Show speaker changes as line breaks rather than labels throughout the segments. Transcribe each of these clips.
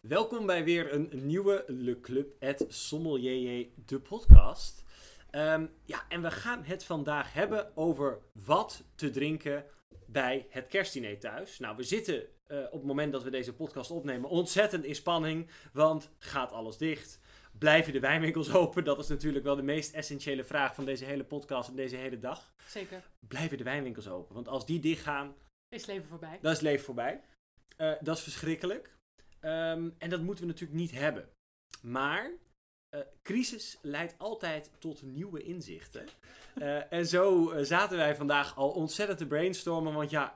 Welkom bij weer een nieuwe Le Club et Sommelier, de podcast. Ehm, ja, en we gaan het vandaag hebben over wat te drinken bij het kerstdiner thuis. Nou, we zitten eh, op het moment dat we deze podcast opnemen ontzettend in spanning, want gaat alles dicht? Blijven de wijnwinkels open? Dat is natuurlijk wel de meest essentiële vraag van deze hele podcast en deze hele dag.
Zeker.
Blijven de wijnwinkels open? Want als die dichtgaan,
Is leven voorbij.
dat is het leven voorbij. Eh, dat is verschrikkelijk. Ehm, en dat moeten we natuurlijk niet hebben. Maar eh, crisis leidt altijd tot nieuwe inzichten. Eh, en zo eh, zaten wij vandaag al ontzettend te brainstormen. Want ja,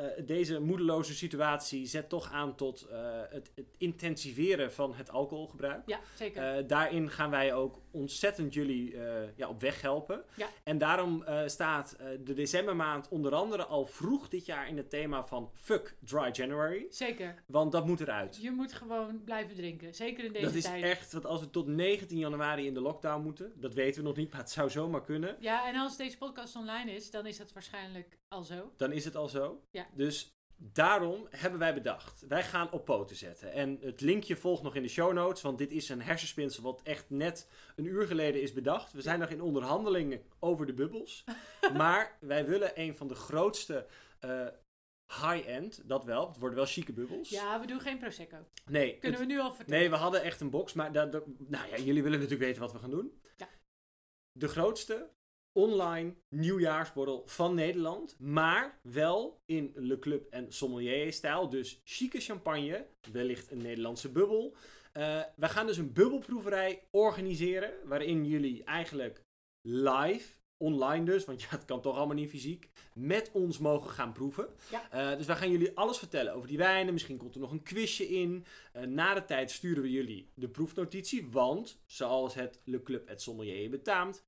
eh, deze moedeloze situatie zet toch aan tot eh, het, het intensiveren van het alcoholgebruik.
Ja, zeker.
Eh, daarin gaan wij ook ontzettend jullie eh, ja, op weg helpen.
Ja.
En daarom eh, staat eh, de decembermaand onder andere al vroeg dit jaar in het thema van Fuck Dry January.
zeker.
Want dat moet eruit.
Je moet gewoon blijven drinken. Zeker in deze
Dat is
tijd.
echt, want als we tot 19 januari in de lockdown moeten, dat weten we nog niet, maar het zou zomaar kunnen.
Ja, en als deze podcast online is, dan is dat waarschijnlijk al zo.
Dan is het al zo.
Ja.
Dus daarom hebben wij bedacht, wij gaan op poten zetten. En het linkje volgt nog in de show notes, want dit is een hersenspinsel wat echt net een uur geleden is bedacht. We zijn nog in onderhandelingen over de bubbels. maar wij willen een van de grootste eh, high-end, dat wel. Het worden wel chique bubbels.
Ja, we doen geen prosecco.
Nee, het-
Kunnen we nu al vertellen?
Nee, we hadden echt een box, maar dat, dat- nou ja, jullie willen natuurlijk weten wat we gaan doen.
Ja.
De grootste online nieuwjaarsborrel van Nederland, maar wel in Le Club en Sommelier-stijl. Dus chique champagne, wellicht een Nederlandse bubbel. Eh, we gaan dus een bubbelproeverij organiseren, waarin jullie eigenlijk live, online dus, want ja, het kan toch allemaal niet fysiek, met ons mogen gaan proeven.
Ja.
Eh, dus wij gaan jullie alles vertellen over die wijnen. Misschien komt er nog een quizje in. Eh, na de tijd sturen we jullie de proefnotitie, want zoals het Le Club et Sommelier betaamt,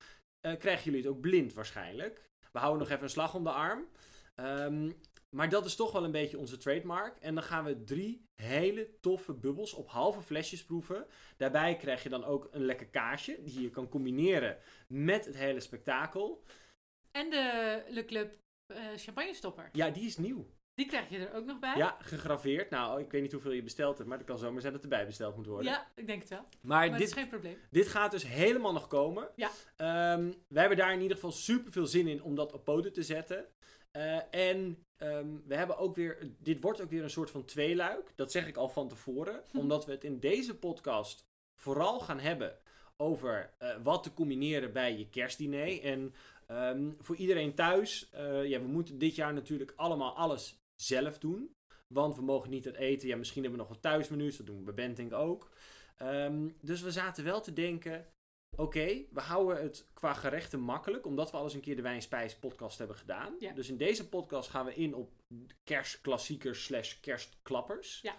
eh, krijgen jullie het ook blind waarschijnlijk. We houden nog even een slag om de arm. Ehm, maar dat is toch wel een beetje onze trademark. En dan gaan we drie hele toffe bubbels op halve flesjes proeven. Daarbij krijg je dan ook een lekker kaasje, die je kan combineren met het hele spektakel.
En de Le Club eh champagne stopper.
Ja, die is nieuw.
Die krijg je er ook nog bij.
Ja, gegraveerd. Nou, ik weet niet hoeveel je besteld hebt, maar dat kan zomaar zijn dat erbij besteld moet worden.
Ja, ik denk het wel. Maar,
maar
dat
dit,
is geen probleem.
dit gaat dus helemaal nog komen.
Ja.
Ehm, we hebben daar in ieder geval super veel zin in om dat op poten te zetten. Eh, en ehm, we hebben ook weer, dit wordt ook weer een soort van tweeluik. Dat zeg ik al van tevoren, omdat we het in deze podcast vooral gaan hebben over eh, wat te combineren bij je kerstdiner. En ehm, voor iedereen thuis, eh, ja, we moeten dit jaar natuurlijk allemaal alles zelf doen. Want we mogen niet het eten. Ja, misschien hebben we nog wat thuismenu's. Dat doen we bij Bentink ook. Ehm, dus we zaten wel te denken, Oké, we houden het qua gerechten makkelijk, omdat we al eens een keer de Wijnspijs podcast hebben gedaan.
Ja.
Dus in deze podcast gaan we in op kerstklassiekers slash kerstklappers.
Ja.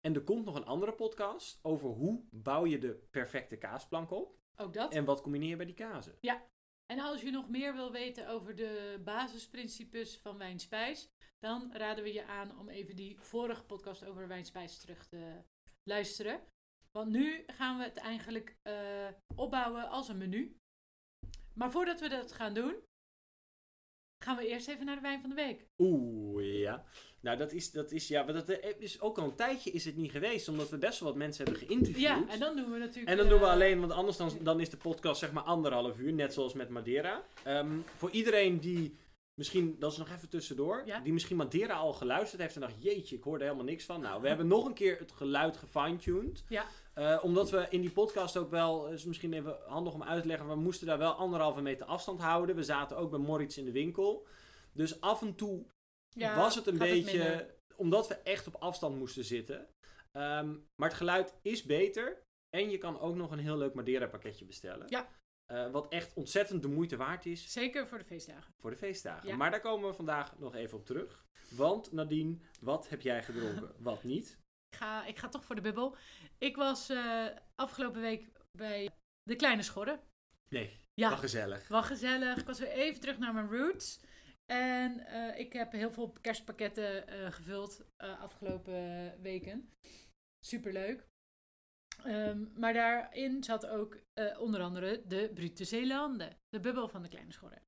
En er komt nog een andere podcast over hoe bouw je de perfecte kaasplank op
Ook dat.
en wat combineer je bij die kazen.
En als je nog meer wil weten over de basisprincipes van wijnspijs, dan raden we je aan om even die vorige podcast over wijnspijs terug te luisteren. Want nu gaan we het eigenlijk eh, opbouwen als een menu. Maar voordat we dat gaan doen, gaan we eerst even naar de wijn van de week.
Oeh, ja. Nou, dat is, dat is, ja, maar dat eh, is ook al een tijdje is het niet geweest, omdat we best wel wat mensen hebben geïnterviewd.
Ja, en dan doen we natuurlijk.
En dan doen we
eh,
alleen, want anders dan, dan is de podcast zeg maar anderhalf uur, net zoals met Madeira. Ehm, voor iedereen die misschien, dat is nog even tussendoor,
Ja.
die misschien Madeira al geluisterd heeft en dacht, jeetje, ik hoorde helemaal niks van. Nou, we hebben nog een keer het geluid gefine-tuned.
Ja.
Eh, omdat we in die podcast ook wel, eh, is misschien even handig om uit te leggen, we moesten daar wel anderhalve meter afstand houden. We zaten ook bij Moritz in de winkel. Dus af en toe
ja,
was het een
gaat
beetje.
minder.
omdat we echt op afstand moesten zitten. Ehm, maar het geluid is beter. En je kan ook nog een heel leuk Madeira pakketje bestellen.
Ja.
Eh, wat echt ontzettend de moeite waard is
Zeker voor de feestdagen.
voor de feestdagen.
Ja.
Maar daar komen we vandaag nog even op terug. Want Nadine, wat heb jij gedronken? Wat niet?
Ik ga, ik ga toch voor de bubbel. Ik was eh, afgelopen week bij de Kleine Schorre.
Nee,
Ja.
wel gezellig.
Wel gezellig. Ik was weer even terug naar mijn roots. En eh, ik heb heel veel kerstpakketten eh, gevuld eh, afgelopen weken. Superleuk. Ehm, maar daarin zat ook eh, onder andere de Brute Zeelanden. De bubbel van de kleine schorren.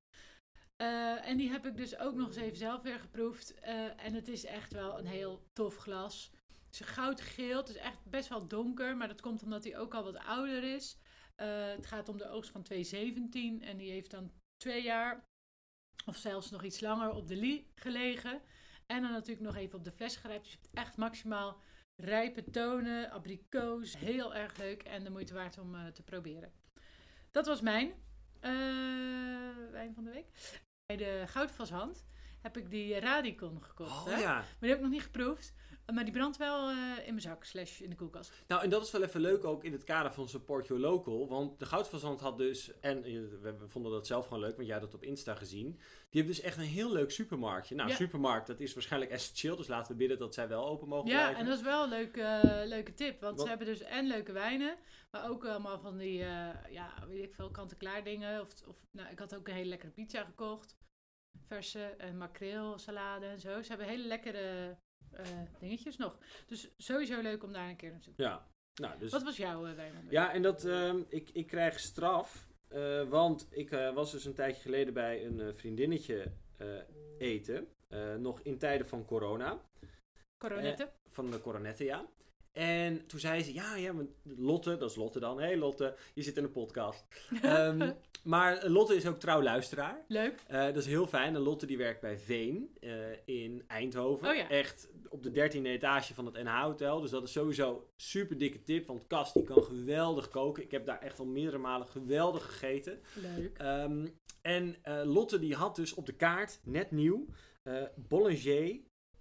Eh, en die heb ik dus ook nog eens even zelf weer geproefd. Eh, en het is echt wel een heel tof glas. Het is goudgeel. Het is echt best wel donker. Maar dat komt omdat hij ook al wat ouder is. Eh, het gaat om de oogst van 2017. En die heeft dan twee jaar of zelfs nog iets langer op de lie gelegen. En dan natuurlijk nog even op de fles gerijpt. Dus je hebt echt maximaal rijpe tonen, abrikoos. Heel erg leuk en de moeite waard om eh, te proberen. Dat was mijn eh, wijn van de week. Bij de Goudvashand heb ik die Radicon gekocht. hè?
Oh ja.
Maar die heb ik nog niet geproefd. Maar die brandt wel eh, in mijn zak, slash in de koelkast.
Nou, en dat is wel even leuk ook in het kader van Support Your Local. Want de Goudfazant had dus, en eh, we vonden dat zelf gewoon leuk, want jij had dat op Insta gezien. Die hebben dus echt een heel leuk supermarktje. Nou,
Ja.
supermarkt, dat is waarschijnlijk essentieel. Dus laten we bidden dat zij wel open mogen
Ja,
blijven.
en dat is wel een leuke, eh, leuke tip. Want
Wat-
ze hebben dus en leuke wijnen, maar ook allemaal van die, eh, ja, weet ik veel, kant-en-klaar dingen. Of, of, nou, ik had ook een hele lekkere pizza gekocht. Verse en makreelsalade en zo. Ze hebben hele lekkere eh, dingetjes nog. Dus sowieso leuk om daar een keer naartoe.
Ja, nou, dus...
Wat was jouw eh, wijn? van de week?
Ja, en dat, ehm, ik, ik krijg straf. eh, want ik eh, was dus een tijdje geleden bij een eh, vriendinnetje eh, eten. eh, nog in tijden van corona.
Coronetten?
van de coronetten, ja. En toen zei ze, ja, ja, maar Lotte, dat is Lotte dan. Hé hey Lotte, je zit in een podcast. Ehm, maar Lotte is ook trouw luisteraar.
leuk.
Eh, dat is heel fijn. En Lotte die werkt bij Veen eh, in Eindhoven.
Oh ja.
Echt op de dertiende etage van het NH-hotel. Dus dat is sowieso super dikke tip. Want Kas die kan geweldig koken. Ik heb daar echt al meerdere malen geweldig gegeten.
Leuk.
Ehm, en eh, Lotte die had dus op de kaart, net nieuw, eh Bollinger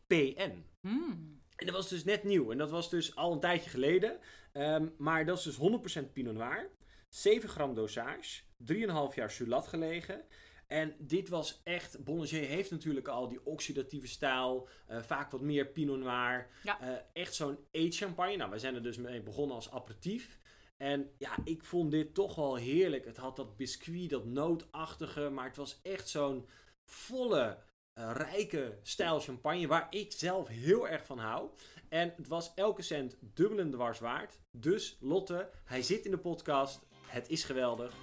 PN.
Mm.
En dat was dus net nieuw. En dat was dus al een tijdje geleden. Ehm, maar dat is dus 100% Pinot Noir. 7 gram dosage. 3,5 jaar sulat gelegen. En dit was echt... Bollinger heeft natuurlijk al die oxidatieve stijl. eh, vaak wat meer Pinot Noir.
Ja.
Eh, echt zo'n eetchampagne. Nou, wij zijn er dus mee begonnen als aperitief. En ja, ik vond dit toch wel heerlijk. Het had dat biscuit, dat nootachtige. Maar het was echt zo'n volle, eh, rijke stijl champagne. Waar ik zelf heel erg van hou. En het was elke cent dubbel en dwars waard. Dus Lotte, hij zit in de podcast. Het is geweldig.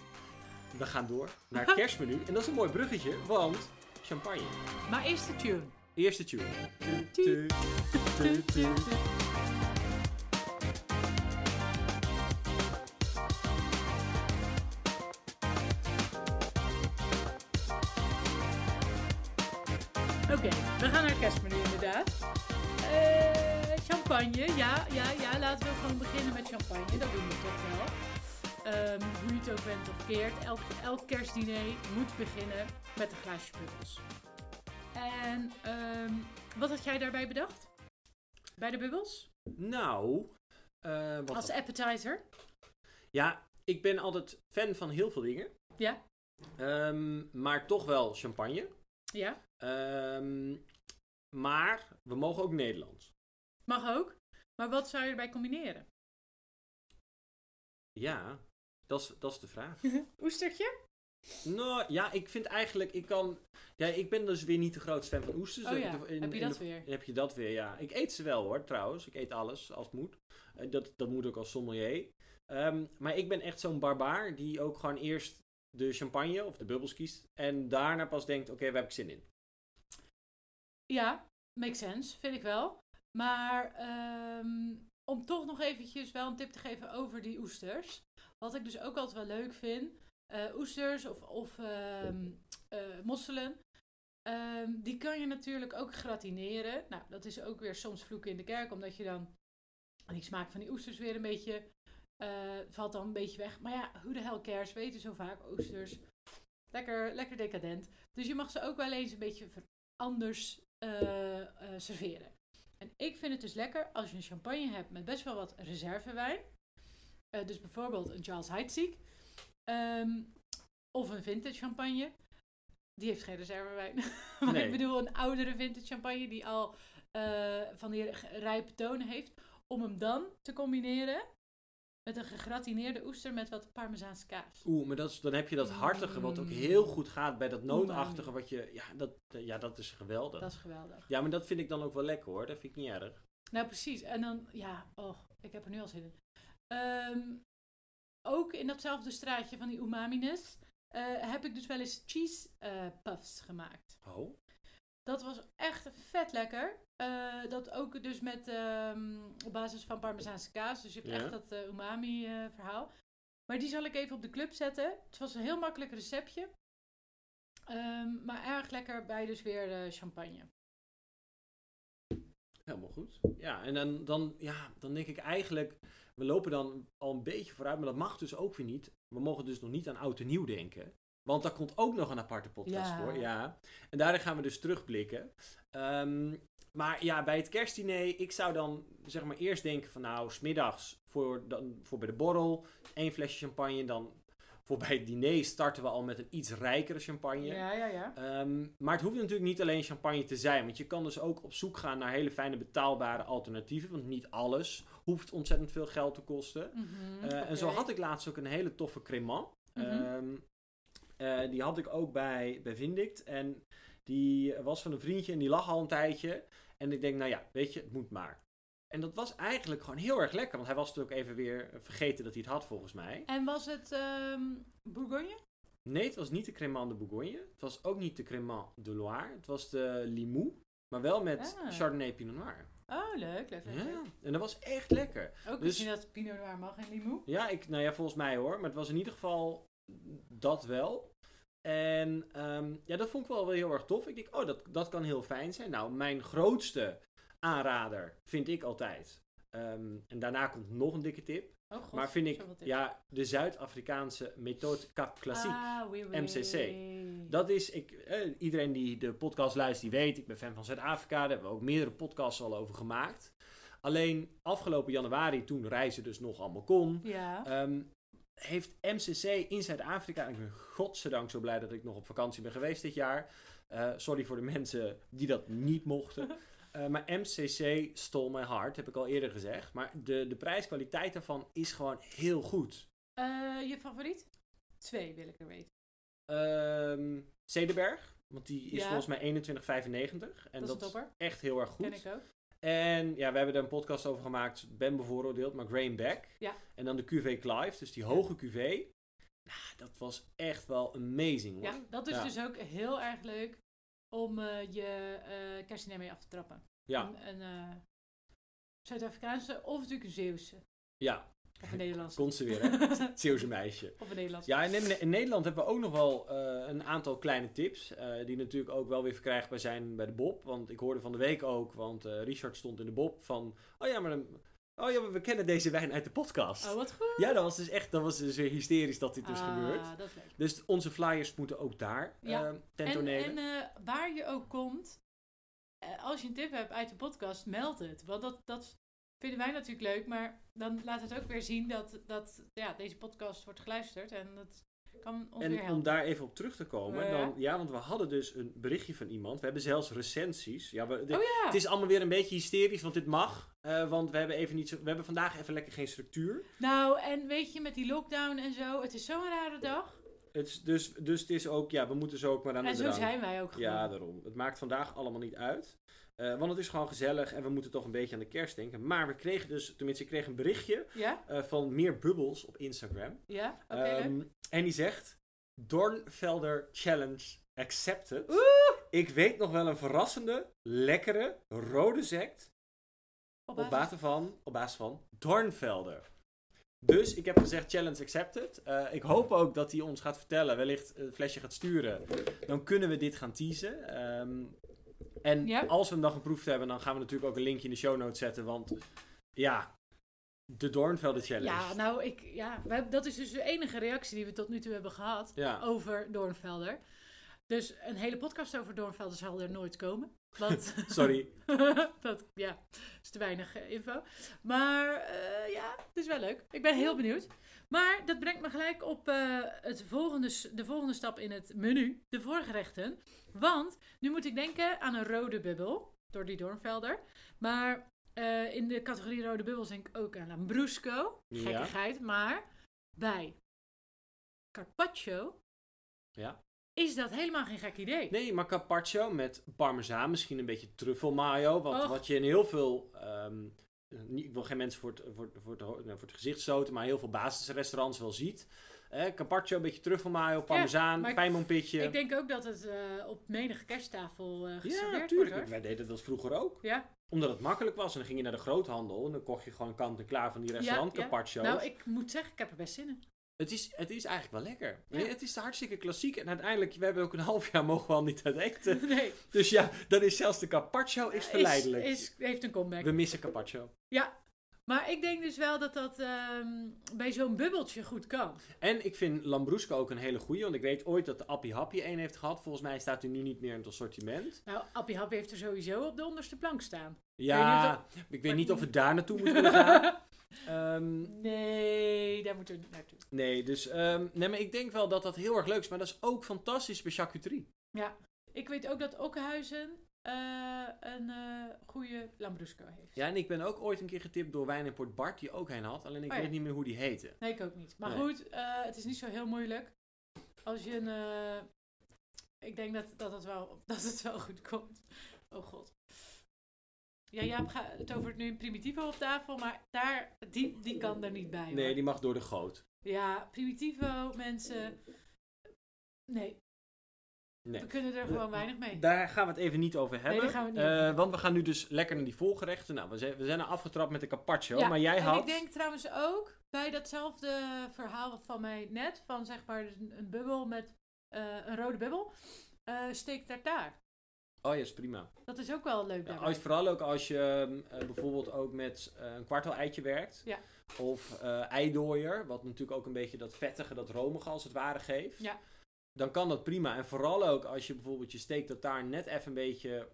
We gaan door naar het kerstmenu. En dat is een mooi bruggetje, want champagne.
Maar eerst de tune.
Eerste tune. Tu, tu, tu, tu.
Oké, we gaan naar het kerstmenu inderdaad. Eh, champagne, ja, ja, ja. Laten we gewoon beginnen met champagne. Dat doen we toch wel. Ehm, hoe je het ook bent of keert. Elk, elk kerstdiner moet beginnen met een glaasje bubbels. En ehm, wat had jij daarbij bedacht? Bij de bubbels?
Nou, eh, wat
Als
dan?
appetizer?
ja, ik ben altijd fan van heel veel dingen.
Ja.
Ehm, maar toch wel champagne.
Ja,
Ehm, maar we mogen ook Nederlands.
mag ook. Maar wat zou je erbij combineren?
Ja, dat is- dat is de vraag.
Oestertje?
Nou ja, ik vind eigenlijk, ik kan. Ja, ik ben dus weer niet Dus de grootste fan van oesters.
Oh ja,
In- in-
heb je
in
dat
de-
weer?
Heb je dat weer, ja. Ik eet ze wel hoor, trouwens. Ik eet alles als het moet. Eh, Dat, dat moet ook als sommelier. Ehm, maar ik ben echt zo'n barbaar die ook gewoon eerst de champagne of de bubbels kiest. En daarna pas denkt: oké, waar heb ik zin in?
Ja, makes sense, vind ik wel. Maar ehm, om toch nog eventjes wel een tip te geven over die oesters. Wat ik dus ook altijd wel leuk vind. eh, oesters of, of ehm, eh, mosselen. ehm, die kan je natuurlijk ook gratineren. Nou, dat is ook weer soms vloeken in de kerk. Omdat je dan die smaak van die oesters weer een beetje... eh, valt dan een beetje weg. Maar ja, hoe de hell cares? We eten zo vaak oesters. Lekker, lekker decadent. Dus je mag ze ook wel eens een beetje ver- anders eh, eh, serveren. En ik vind het dus lekker als je een champagne hebt met best wel wat reservewijn. Eh, dus bijvoorbeeld een Charles Heidsieck. Ehm, of een vintage champagne. Die heeft geen reservewijn. maar
Nee.
ik bedoel een oudere vintage champagne die al eh, van die rijpe tonen heeft. Om hem dan te combineren met een gegratineerde oester met wat Parmezaanse kaas.
Oeh, maar dat is, dan heb je dat hartige, wat ook
Mm.
heel goed gaat bij dat nootachtige. Wat je, ja, dat, ja, dat is geweldig.
Dat is geweldig.
Ja, maar dat vind ik dan ook wel lekker hoor. Dat vind ik niet erg.
Nou, precies. En dan, ja, oh, ik heb er nu al zin in. Ehm, ook in datzelfde straatje van die umami-ness eh, heb ik dus wel eens cheese eh, puffs gemaakt.
Oh.
Dat was echt vet lekker. Eh, dat ook dus met, ehm, op basis van Parmezaanse kaas. Dus je hebt
Ja.
echt dat umami-verhaal. maar die zal ik even op de club zetten. Het was een heel makkelijk receptje. Ehm, maar erg lekker bij dus weer eh, champagne.
Helemaal goed. Ja, en dan, dan, ja, dan denk ik eigenlijk, we lopen dan al een beetje vooruit, maar dat mag dus ook weer niet. We mogen dus nog niet aan oud en nieuw denken. Want daar komt ook nog een aparte podcast
Ja.
voor. Ja. En daarin gaan we dus terugblikken. Ehm, maar ja, bij het kerstdiner, ik zou dan zeg maar eerst denken van nou, smiddags voor, dan, voor bij de borrel, één flesje champagne. Dan voor bij het diner starten we al met een iets rijkere champagne.
Ja, ja, ja.
Ehm, maar het hoeft natuurlijk niet alleen champagne te zijn. Want je kan dus ook op zoek gaan naar hele fijne betaalbare alternatieven. Want niet alles hoeft ontzettend veel geld te kosten.
Mhm,
Eh, En zo
oké.
had ik laatst ook een hele toffe cremant.
Mhm.
Ehm, eh, die had ik ook bij, bij Vindict. En die was van een vriendje en die lag al een tijdje. En ik denk, nou ja, weet je, het moet maar. En dat was eigenlijk gewoon heel erg lekker. Want hij was het ook even weer vergeten dat hij het had volgens mij.
En was het ehm Bourgogne?
Nee, het was niet de Cremant de Bourgogne. Het was ook niet de Cremant de Loire. Het was de Limoux. Maar wel met
Ah.
Chardonnay Pinot Noir.
Oh, leuk, leuk, leuk.
Ja,
leuk.
en dat was echt lekker.
Ook
Dus-
misschien dat Pinot Noir mag en Limoux.
Ja, ik, nou ja, volgens mij hoor. Maar het was in ieder geval dat wel. En ehm, ja, dat vond ik wel, wel heel erg tof. Ik denk, oh, dat, dat kan heel fijn zijn. Nou, mijn grootste aanrader vind ik altijd. ehm, en daarna komt nog een dikke tip.
Oh, god,
maar vind ik,
zoveel tips.
ja, de Zuid-Afrikaanse methode Cap Classique.
Ah, oui, oui.
MCC. Dat is, ik, eh, iedereen die de podcast luistert, die weet, ik ben fan van Zuid-Afrika. Daar hebben we ook meerdere podcasts al over gemaakt. Alleen afgelopen januari, toen reizen dus nog allemaal kon,
Ja.
ehm, heeft MCC in Zuid-Afrika, en ik ben godzijdank zo blij dat ik nog op vakantie ben geweest dit jaar. Eh, sorry voor de mensen die dat niet mochten. Eh, maar MCC stole my heart, heb ik al eerder gezegd. Maar de, de prijskwaliteit daarvan is gewoon heel goed.
Eh, je favoriet? Twee wil ik er weten.
Ehm Zedenberg. Want die is
Ja.
volgens mij 21,95. En
dat,
dat,
is een topper.
is echt heel erg
Ken
goed.
ik ook.
En ja, we hebben er een podcast over gemaakt. Ben bevooroordeeld, maar Graham Beck.
Ja.
En dan de QV Clive, dus die hoge QV. Nou, dat was echt wel amazing hoor.
Ja, dat is
Ja.
dus ook heel erg leuk om eh, je eh kerstdiner mee af te trappen.
Ja.
Een, een, eh, Zuid-Afrikaanse of natuurlijk een Zeeuwse.
Ja,
Of een Nederlandse.
komt ze weer hè. Zeeuwse meisje.
of een Nederlandse.
Ja, en in, in Nederland hebben we ook nog wel eh, een aantal kleine tips. eh, die natuurlijk ook wel weer verkrijgbaar zijn bij de Bob. Want ik hoorde van de week ook, want eh, Richard stond in de Bob van... Oh ja, maar, dan- oh ja, maar we kennen deze wijn uit de podcast.
Oh, wat goed.
Ja, dat was dus echt dat was dus weer hysterisch dat dit dus
Ah,
gebeurt.
dat is leuk.
Dus onze flyers moeten ook daar
Ja.
eh, ten
En,
tonele.
en eh, waar je ook komt, eh, als je een tip hebt uit de podcast, meld het. Want dat, dat vinden wij natuurlijk leuk, maar dan laat het ook weer zien dat, dat ja, deze podcast wordt geluisterd. En dat kan ons weer
En
helpen.
om daar even op terug te komen,
Ja.
dan, ja, want we hadden dus een berichtje van iemand. We hebben zelfs recensies. Ja, we, dit-
oh ja,
Het is allemaal weer een beetje hysterisch, want dit mag. eh, want we hebben, even niet zo, we hebben vandaag even lekker geen structuur.
nou en weet je, met die lockdown en zo, het is zo'n rare dag.
Het is dus, dus het is ook, ja, we moeten zo ook maar aan
En
de
zo
drang.
zijn wij ook gewoon.
Ja, daarom. Het maakt vandaag allemaal niet uit. Eh, want het is gewoon gezellig en we moeten toch een beetje aan de kerst denken. Maar we kregen dus, tenminste, ik kreeg een berichtje
ja,
eh, van meer bubbels op Instagram.
ja, oké leuk.
Ehm, en die zegt: Dornvelder Challenge accepted.
Oeh,
Ik weet nog wel een verrassende, lekkere, rode sect
op
op
basis-
basis van, op basis van Dornvelder. Dus ik heb gezegd challenge accepted. Eh, ik hoop ook dat hij ons gaat vertellen, wellicht een flesje gaat sturen. Dan kunnen we dit gaan teasen. Ehm, en
Ja.
als we hem dan geproefd hebben, dan gaan we natuurlijk ook een linkje in de show notes zetten. Want ja, de Dornvelder Challenge.
Ja, nou, ik, ja, wij- dat is dus de enige reactie die we tot nu toe hebben gehad.
ja.
over Doornvelder. Dus een hele podcast over Doornvelder zal er nooit komen. Want
Sorry,
dat ja, is te weinig eh, info. Maar eh, ja, het is wel leuk. Ik ben heel benieuwd. Maar dat brengt me gelijk op eh, het volgende, s- de volgende stap in het menu, de voorgerechten. Want nu moet ik denken aan een rode bubbel, door die Doornvelder. Maar eh, in de categorie rode bubbels denk ik ook aan Lambrusco.
Ja.
Gekkigheid, maar bij Carpaccio
Ja.
is dat helemaal geen gek idee.
Nee, maar carpaccio met parmezaan, misschien een beetje truffelmayo. Wat,
Och.
wat je in heel veel. ehm, niet, ik wil geen mensen voor het, voor, het- voor, het, ho- nou, voor het gezicht stoten, maar heel veel basisrestaurants wel ziet. Eh, Carpaccio, een beetje truffelmayo, parmezaan,
maar
ja,
ik- Ik denk ook dat het eh, op menige kersttafel eh
Ja,
geserveerd wordt.
natuurlijk.
Hoor.
Wij deden dat vroeger ook.
Ja,
Omdat het makkelijk was. En dan ging je naar de groothandel en dan kocht je gewoon kant en klaar van die restaurant
ja.
carpaccio's.
nou ik moet zeggen, ik heb er best zin in.
Het is, het is eigenlijk wel lekker.
Ja.
Het is hartstikke klassiek. En uiteindelijk, we hebben ook een half jaar mogen we al niet uit eten.
nee,
Dus ja, dan is zelfs de carpaccio is verleidelijk.
Is, is- heeft een comeback.
We missen carpaccio.
Maar ik denk dus wel dat dat ehm, bij zo'n bubbeltje goed kan.
En ik vind Lambrusco ook een hele goeie. Want ik weet ooit dat de Appie Happy één heeft gehad. Volgens mij staat hij nu niet meer in het assortiment.
Nou, Appie Happy heeft er sowieso op de onderste plank staan.
Ja,
niet
ik weet niet of we daar naartoe moeten gaan. Ehm,
nee, daar moeten we niet naartoe.
nee, dus ehm, nee, maar ik denk wel dat dat heel erg leuk is. Maar dat is ook fantastisch bij charcuterie.
Ik weet ook dat Okkenhuizen eh, een eh, goede Lambrusco heeft.
Ja, en ik ben ook ooit een keer getipt door Wijn en Port Bart, die ook heen had. Alleen ik
Oh ja.
weet niet meer hoe die heette.
Nee, ik ook niet. Maar
Nee.
goed, eh, het is niet zo heel moeilijk. Als je een... eh, ik denk dat, dat, het wel, dat het wel goed komt. Oh god. Ja, Jaap gaat het over het nu in Primitivo op tafel, maar daar, die, die kan er niet bij. hoor.
Nee, die mag door de goot.
Ja, Primitivo, mensen... Nee,
Nee.
we kunnen er gewoon weinig mee.
Daar gaan we het even niet over hebben.
daar gaan we het niet
Eh,
over hebben.
Want we gaan nu dus lekker naar die volgerechten. Nou, we zijn, we zijn er afgetrapt met de carpaccio.
Ja,
maar jij
en
had...
ik denk trouwens ook bij datzelfde verhaal van mij net, van zeg maar dus een, een bubbel met eh, een rode bubbel, eh steek tartaar.
Oh ja, is prima.
Dat is ook wel leuk
Ja,
daarbij.
als, vooral ook als je ehm, eh, bijvoorbeeld ook met eh, een kwartel eitje werkt.
Ja.
Of eh, eidooier, wat natuurlijk ook een beetje dat vettige, dat romige als het ware geeft.
Ja.
Dan kan dat prima. En vooral ook als je bijvoorbeeld je steak tartaar net even een beetje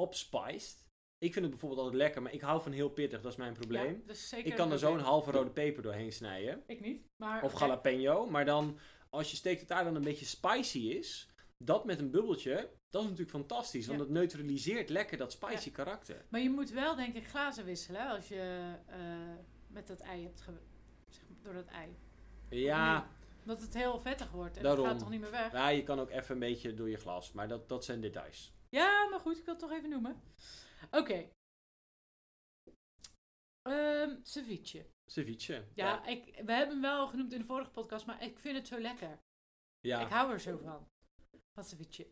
opspiced. Ik vind het bijvoorbeeld altijd lekker, maar ik hou van heel pittig, dat is mijn probleem.
Ja, dat is zeker
ik kan er
een
zo een
probleem.
halve rode peper doorheen snijden.
Ik niet, maar...
Of jalapeno. Maar dan, als je steekt het daar dan een beetje spicy is, dat met een bubbeltje, dat is natuurlijk fantastisch. Want
Ja.
dat neutraliseert lekker dat spicy karakter.
Maar je moet wel denk ik glazen wisselen hè, als je eh, met dat ei hebt ge... zeg maar, door dat ei.
Ja,
Dat het heel vettig wordt en
Daarom.
dat gaat toch niet meer weg.
ja, je kan ook even een beetje door je glas. Maar dat, dat zijn details.
Ja, maar goed, ik wil het toch even noemen. Oké. Ehm, ceviche.
Ceviche.
Ja, Ik, we hebben hem wel genoemd in de vorige podcast, maar ik vind het zo lekker.
Ja.
Ik hou er zo van. Van ceviche.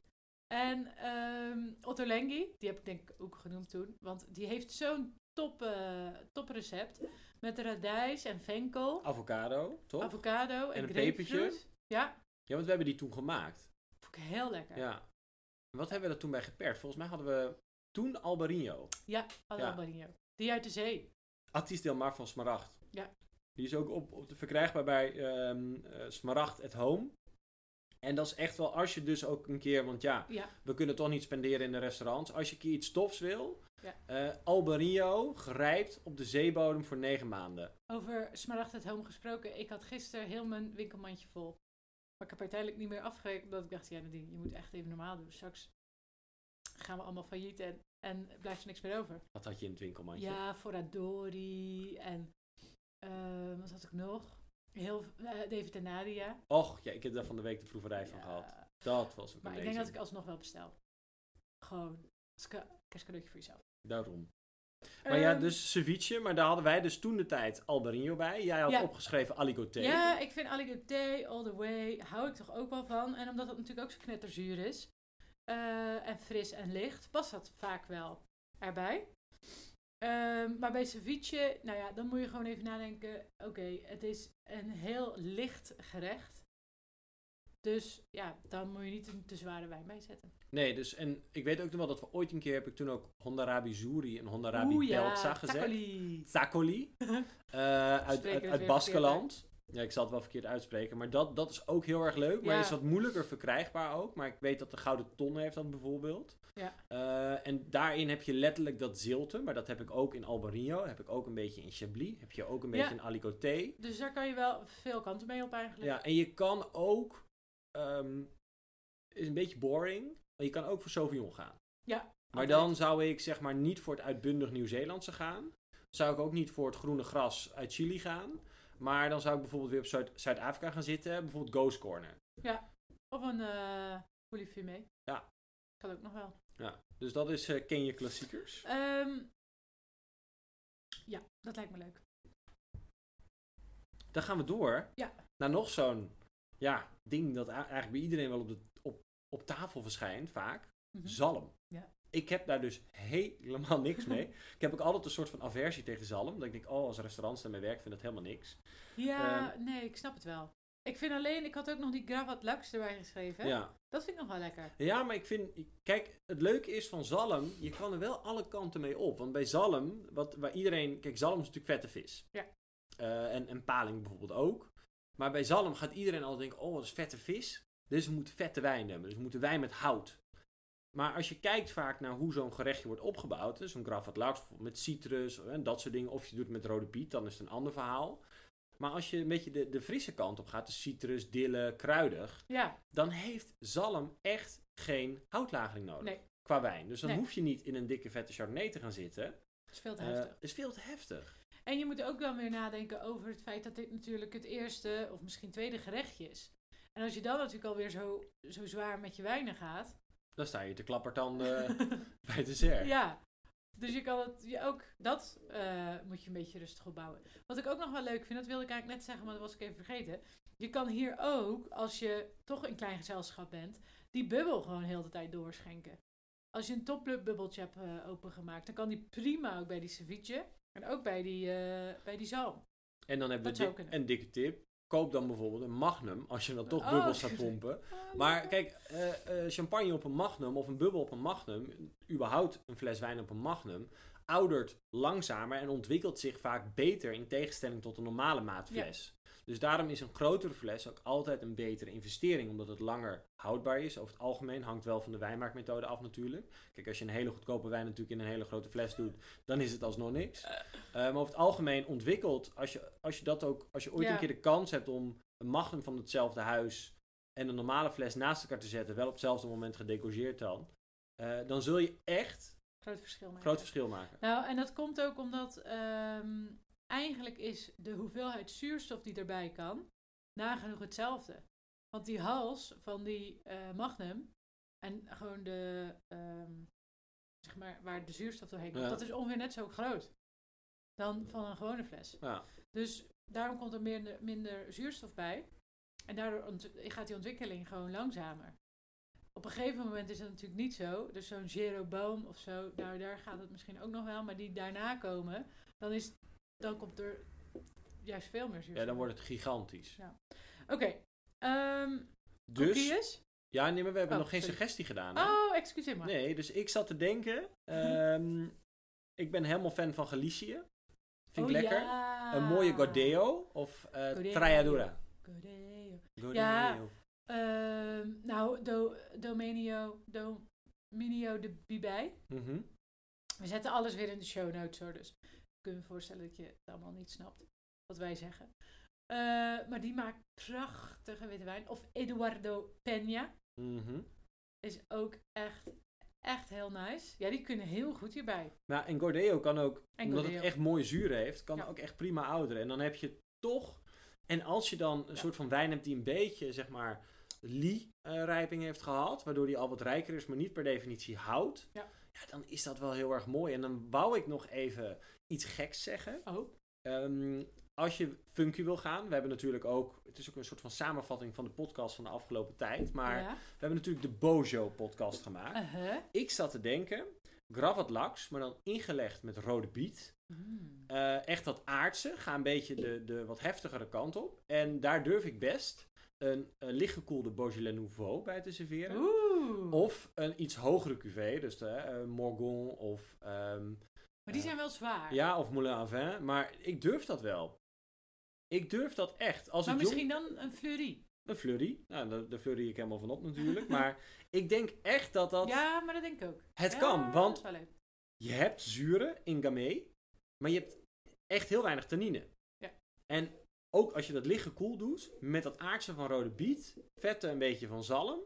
En ehm Otto Lengi, die heb ik denk ik ook genoemd toen, want die heeft zo'n top, eh, toprecept met radijs en venkel,
Avocado, toch?
avocado en,
Ah, En een
grapefruit.
pepertje.
Ja,
ja, want we hebben die toen gemaakt.
vond ik heel lekker.
Ja. En Wat hebben we er toen bij geperkt? Volgens mij hadden we toen Albarino.
Alla
Ja.
Bagno. Die uit de zee.
Attis Delmar van Smaragd.
Ja.
Die is ook op, op de verkrijgbaar bij ehm eh, Smaragd at Home. En dat is echt wel als je dus ook een keer, want ja,
Ja.
we kunnen toch niet spenderen in de restaurants. Als je een keer iets tofs wil,
Ja.
eh, Albarino grijpt op de zeebodem voor negen maanden.
Over Smaragd het Home gesproken. Ik had gisteren heel mijn winkelmandje vol. Maar ik heb uiteindelijk niet meer afgerekend. Omdat ik dacht, ja Nadine, je moet echt even normaal doen. Straks gaan we allemaal failliet en, en blijft er niks meer over.
Wat had je in het winkelmandje?
Ja, Foradori en eh, wat had ik nog? Heel, v- eh, David en Nadia.
Och, ja, ik heb daar van de week de proeverij van
Ja,
gehad. Dat was ook
Maar ik
amazing.
denk dat ik alsnog wel bestel. Gewoon als ka- kerstcadeautje voor jezelf.
Daarom. Maar ja,
Ehm,
dus ceviche, maar daar hadden wij dus toen de tijd Albarino bij. Jij had
Ja.
opgeschreven Aligoté.
Ja, ik vind Aligoté all the way, hou ik toch ook wel van. En omdat het natuurlijk ook zo knetterzuur is, eh, en fris en licht, past dat vaak wel erbij. Ehm, maar bij ceviche, nou ja, dan moet je gewoon even nadenken. Oké, het is een heel licht gerecht. Dus ja, dan moet je niet een te zware wijn bij zetten.
Nee, dus en ik weet ook nog wel dat we ooit een keer heb ik toen ook Hondarabi Zuri en Hondarabi Peltza gezegd.
taccoli.
Zakoli. uit
Spreken we het
uit,
weer
uit
verkeerd
Baskeland. Ja, ik zal het wel verkeerd uitspreken, maar dat, dat is ook heel erg leuk. Maar
Ja.
is wat moeilijker verkrijgbaar ook. Maar ik weet dat de Gouden Ton heeft dat bijvoorbeeld.
Ja.
Eh, en daarin heb je letterlijk dat zilte, maar dat heb ik ook in Albarino, heb ik ook een beetje in Chablis, heb je ook een beetje
Ja.
in Alicoté.
Dus daar kan je wel veel kanten mee op eigenlijk.
Ja, en je kan ook, ehm, is een beetje boring, maar je kan ook voor Sauvignon gaan. Maar dan zou ik zeg maar niet voor het uitbundig Nieuw-Zeelandse gaan. Zou ik ook niet voor het groene gras uit Chili gaan. Maar dan zou ik bijvoorbeeld weer op Zuid- Zuid-Afrika gaan zitten. Bijvoorbeeld Ghost Corner.
Of een eh polyfumé.
Ja.
Kan ook nog wel.
Ja. Dus dat is eh ken je klassiekers.
Ehm, ja, dat lijkt me leuk.
Dan gaan we door
Ja.
naar nog zo'n ja, ding dat a- eigenlijk bij iedereen wel op, de, op, op tafel verschijnt, vaak.
Mhm.
Zalm.
Ja.
Ik heb daar dus helemaal niks mee. ik heb ook altijd een soort van aversie tegen zalm. Dat ik denk, oh, als restaurants daarmee werken, vind ik dat helemaal niks.
Ja,
Ehm.
nee, ik snap het wel. Ik vind alleen, ik had ook nog die Gravat Lux erbij geschreven.
Ja.
Dat vind ik nog wel lekker.
Ja, maar ik vind... Kijk, het leuke is van zalm, je kan er wel alle kanten mee op. Want bij zalm, wat, waar iedereen... Kijk, zalm is natuurlijk vette vis.
Ja.
Eh, en, en paling bijvoorbeeld ook. Maar bij zalm gaat iedereen al denken, oh, dat is vette vis. Dus we moeten vette wijn hebben. Dus we moeten wijn met hout. Maar als je kijkt vaak naar hoe zo'n gerechtje wordt opgebouwd, hè, zo'n gravat laks bijvoorbeeld met citrus en dat soort dingen, of je doet het met rode biet, dan is het een ander verhaal. Maar als je een beetje de, de frisse kant op gaat, de citrus, dille, kruidig,
Ja,
dan heeft zalm echt geen houtlagering nodig.
Nee.
Qua wijn. Dus dan
Nee.
hoef je niet in een dikke vette chardonnay te gaan zitten.
het is veel te
Eh,
heftig.
is veel te heftig.
En je moet ook dan weer nadenken over het feit dat dit natuurlijk het eerste of misschien tweede gerechtje is. En als je dan natuurlijk alweer zo, zo zwaar met je wijnen gaat.
Dan sta je te klappertanden bij het dessert.
ja. Dus je kan het, je ook dat eh, moet je een beetje rustig opbouwen. Wat ik ook nog wel leuk vind, dat wilde ik eigenlijk net zeggen, maar dat was ik even vergeten. Je kan hier ook, als je toch een klein gezelschap bent, die bubbel gewoon heel de tijd doorschenken. Als je een topclub bubbeltje hebt eh, opengemaakt, dan kan die prima ook bij die ceviche en ook bij die, eh, bij die zalm.
En dan hebben
Dat
we
zou
di-
kunnen.
een dikke tip. Koop dan bijvoorbeeld een magnum, als je dan toch
Oh,
bubbels gaat
tuurlijk.
pompen. Maar kijk, eh, eh, champagne op een magnum of een bubbel op een magnum, überhaupt een fles wijn op een magnum, oudert langzamer en ontwikkelt zich vaak beter in tegenstelling tot een normale maatfles. Dus daarom is een grotere fles ook altijd een betere investering, omdat het langer houdbaar is. Over het algemeen hangt wel van de wijnmaakmethode af natuurlijk. Kijk, als je een hele goedkope wijn natuurlijk in een hele grote fles doet, dan is het alsnog niks. Eh, maar over het algemeen ontwikkelt, als je, als je dat ook, als je ooit
Ja.
een keer de kans hebt om een magnum van hetzelfde huis en een normale fles naast elkaar te zetten, wel op hetzelfde moment gedecougeerd dan, eh, dan zul je
Oh,
echt
Groot verschil. maken.
groot verschil maken.
Nou, en dat komt ook omdat ehm, eigenlijk is de hoeveelheid zuurstof die erbij kan nagenoeg hetzelfde. Want die hals van die eh, magnum en gewoon de, ehm, zeg maar, waar de zuurstof doorheen komt,
Ja.
dat is ongeveer net zo groot dan van een gewone fles.
Ja.
Dus daarom komt er minder, minder zuurstof bij en daardoor ont- gaat die ontwikkeling gewoon langzamer. Op een gegeven moment is dat natuurlijk niet zo. Dus zo'n Zero Boom of zo, nou, daar gaat het misschien ook nog wel. Maar die daarna komen, dan, is, dan komt er juist veel meer zuurstof.
ja, dan wordt het gigantisch.
Oké. ehm,
Dus,
kokkies?
ja, nee, maar we hebben
Oh,
nog geen
sorry.
suggestie gedaan. hè?
Oh, excuseer maar. Mhm.
Nee, dus ik zat te denken, ehm, ik ben helemaal fan van Galicië. Vind ik
Oh,
lekker.
ja.
Een mooie Gordeo of eh
Gordeo.
Trajadura.
Gordeo.
Gordeo.
Ja. Ehm, nou, do, Domenio, Dominio de Bibij.
Mhm.
We zetten alles weer in de show notes hoor, dus ik kan me voorstellen dat je het allemaal niet snapt wat wij zeggen. Eh, maar die maakt prachtige witte wijn. Of Eduardo Peña
Mhm.
is ook echt, echt heel nice. Ja, die kunnen heel goed hierbij.
Maar en Gordeo kan ook,
En
omdat
Gordeo.
het echt mooi zuur heeft, kan
Ja.
ook echt prima ouderen. En dan heb je toch, en als je dan een soort van wijn hebt die een beetje, zeg maar, Lee-rijping heeft gehad, waardoor die al wat rijker is, maar niet per definitie houdt,
Ja.
dan is dat wel heel erg mooi. En dan wou ik nog even iets geks zeggen.
Oh,
Ehm, als je funky wil gaan, we hebben natuurlijk ook, het is ook een soort van samenvatting van de podcast van de afgelopen tijd, maar
ja.
we hebben natuurlijk de Bojo-podcast gemaakt.
Uh-huh.
Ik zat te denken, gravat laks, maar dan ingelegd met rode biet.
Mm.
Eh, echt dat aardse, ga een beetje de, de wat heftigere kant op. En daar durf ik best een, eh, lichtgekoelde Beaujolais Nouveau bij te serveren.
Mm. Oeh.
Of een iets hogere cuvée, dus de eh, Morgon of, ehm,
maar die zijn wel zwaar.
ja, of Moulin à Vin. Maar ik durf dat wel. Ik durf dat echt. Als
maar
het jong-
misschien dan een fleurie.
Een flurry. Nou, daar- daar flurry ik helemaal van op natuurlijk. maar ik denk echt dat dat
Ja, maar dat denk ik ook.
het
Ja,
kan. Want
dat is wel leuk.
je hebt zuren in gamay, maar je hebt echt heel weinig tannine.
Ja.
En ook als je dat licht koel doet, met dat aardse van rode biet, vetten een beetje van zalm.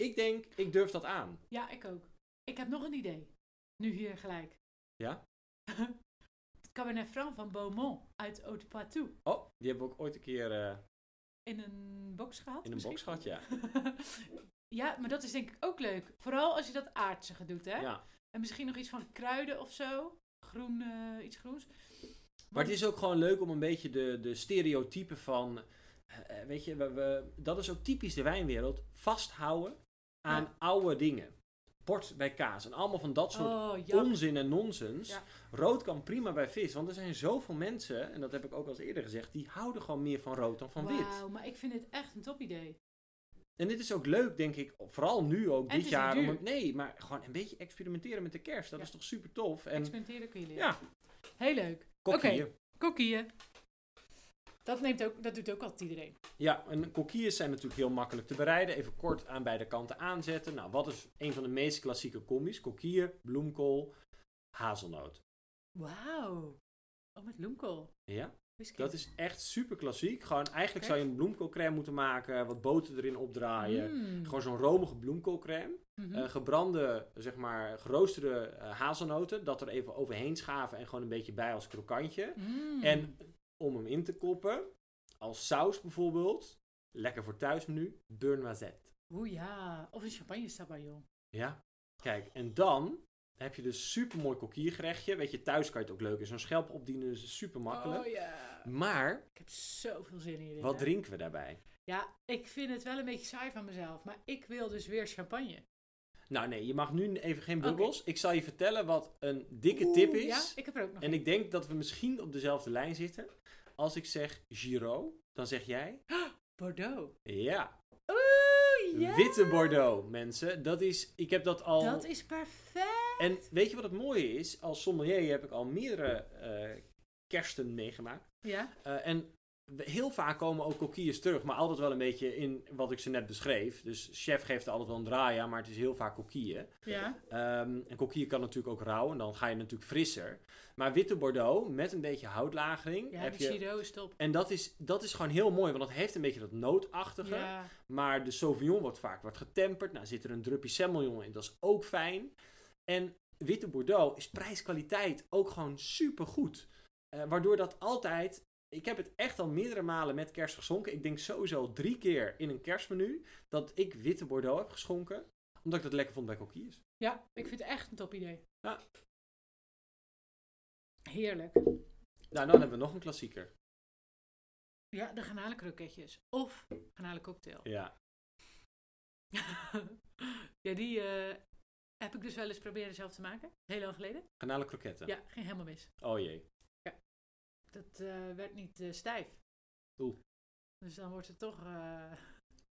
Ik denk, ik durf dat aan.
Ja, ik ook. Ik heb nog een idee. Nu hier gelijk.
Ja?
Cabernet Franc van Beaumont uit Haute-Poitou.
Oh, die hebben we ook ooit een keer eh,
In een box gehad?
in een box gehad, ja.
ja, maar dat is denk ik ook leuk. Vooral als je dat aardse doet, hè?
ja.
En misschien nog iets van kruiden of zo. Groen, eh, iets groens.
Maar het is ook gewoon leuk om een beetje de, de stereotypen van eh, weet je, we, we- dat is ook typisch de wijnwereld. Vasthouden aan oude dingen. Port bij kaas en allemaal van dat soort
Oh, ja.
onzin en nonsens.
Ja.
Rood kan prima bij vis, want er zijn zoveel mensen, en dat heb ik ook al eens eerder gezegd, die houden gewoon meer van rood dan van wit.
Wauw, maar ik vind dit echt een top idee.
En dit is ook leuk, denk ik, vooral nu ook,
En het
dit
is
jaar.
niet
om
duur.
het- nee, maar gewoon een beetje experimenteren met de kerst, dat
Ja.
is toch super tof. En
Experimenteren kun je leren.
ja,
Heel leuk.
kokkie.
Kokkieën. Dat, neemt ook, dat doet ook altijd iedereen.
Ja, en kokkies zijn natuurlijk heel makkelijk te bereiden. Even kort aan beide kanten aanzetten. Nou, wat is een van de meest klassieke combi's? Kokkies, bloemkool, hazelnoot.
Wauw. Oh, met bloemkool.
Ja,
Wist ik
dat
niet.
is echt super klassiek. Gewoon, eigenlijk
Oké.
zou je een bloemkoolcrème moeten maken, wat boter erin opdraaien.
Mm.
Gewoon zo'n romige bloemkoolcrème.
Mhm.
Eh, gebrande, zeg maar, geroosterde eh, hazelnoten. Dat er even overheen schaven en gewoon een beetje bij als krokantje.
Mm.
En om hem in te koppen, als saus bijvoorbeeld. Lekker voor thuismenu, beurre noisette.
Oeh ja, of een champagne sabayon.
Ja. Kijk, en dan heb je dus super mooi kokiergerechtje. Weet je, thuis kan je het ook leuk in zo'n schelp opdienen, dus het is super makkelijk.
Oh ja.
Maar
Ik heb zoveel zin hierin.
wat
hè.
drinken we daarbij?
Ja, ik vind het wel een beetje saai van mezelf. Maar ik wil dus weer champagne.
Nou nee, je mag nu even geen
Oké.
bubbels. Ik zal je vertellen wat een dikke tip
Oeh,
is.
Ja, ik heb er ook nog
En
een.
ik denk dat we misschien op dezelfde lijn zitten. Als ik zeg Giro, dan zeg jij
Bordeaux.
ja.
Oeh, ja.
Witte Bordeaux, mensen. Dat is, ik heb dat al.
Dat is perfect.
En weet je wat het mooie is? Als sommelier heb ik al meerdere eh, kersten meegemaakt.
Ja,
Eh, en we- heel vaak komen ook kokkiers terug, maar altijd wel een beetje in wat ik ze net beschreef. Dus chef geeft er altijd wel een draai aan, maar het is heel vaak kokkier.
ja.
Ehm en kokkier kan natuurlijk ook rauw en dan ga je natuurlijk frisser. Maar witte Bordeaux met een beetje houtlagering
Ja,
heb
de
je...
Giro is top.
En dat is, dat is gewoon heel mooi, want dat heeft een beetje dat nootachtige.
Ja.
Maar de Sauvignon wordt vaak wat getemperd. Nou zit er een druppie Semillon in, dat is ook fijn. En witte Bordeaux is prijs-kwaliteit ook gewoon supergoed. Eh waardoor dat altijd... Ik heb het echt al meerdere malen met kerst geschonken. Ik denk sowieso drie keer in een kerstmenu dat ik witte Bordeaux heb geschonken. Omdat ik dat lekker vond bij Coquilles.
ja, ik vind het echt een top idee.
Ja.
Heerlijk.
Nou, dan hebben we nog een klassieker.
Ja, de garnalenkroketjes. Of garnalencocktail.
Ja.
ja, die eh, heb ik dus wel eens proberen zelf te maken. Heel lang geleden.
Kanalen kroketten.
Ja, ging helemaal mis.
Oh jee.
Dat eh, werd niet eh, stijf.
Oeh.
Dus dan wordt het toch... eh,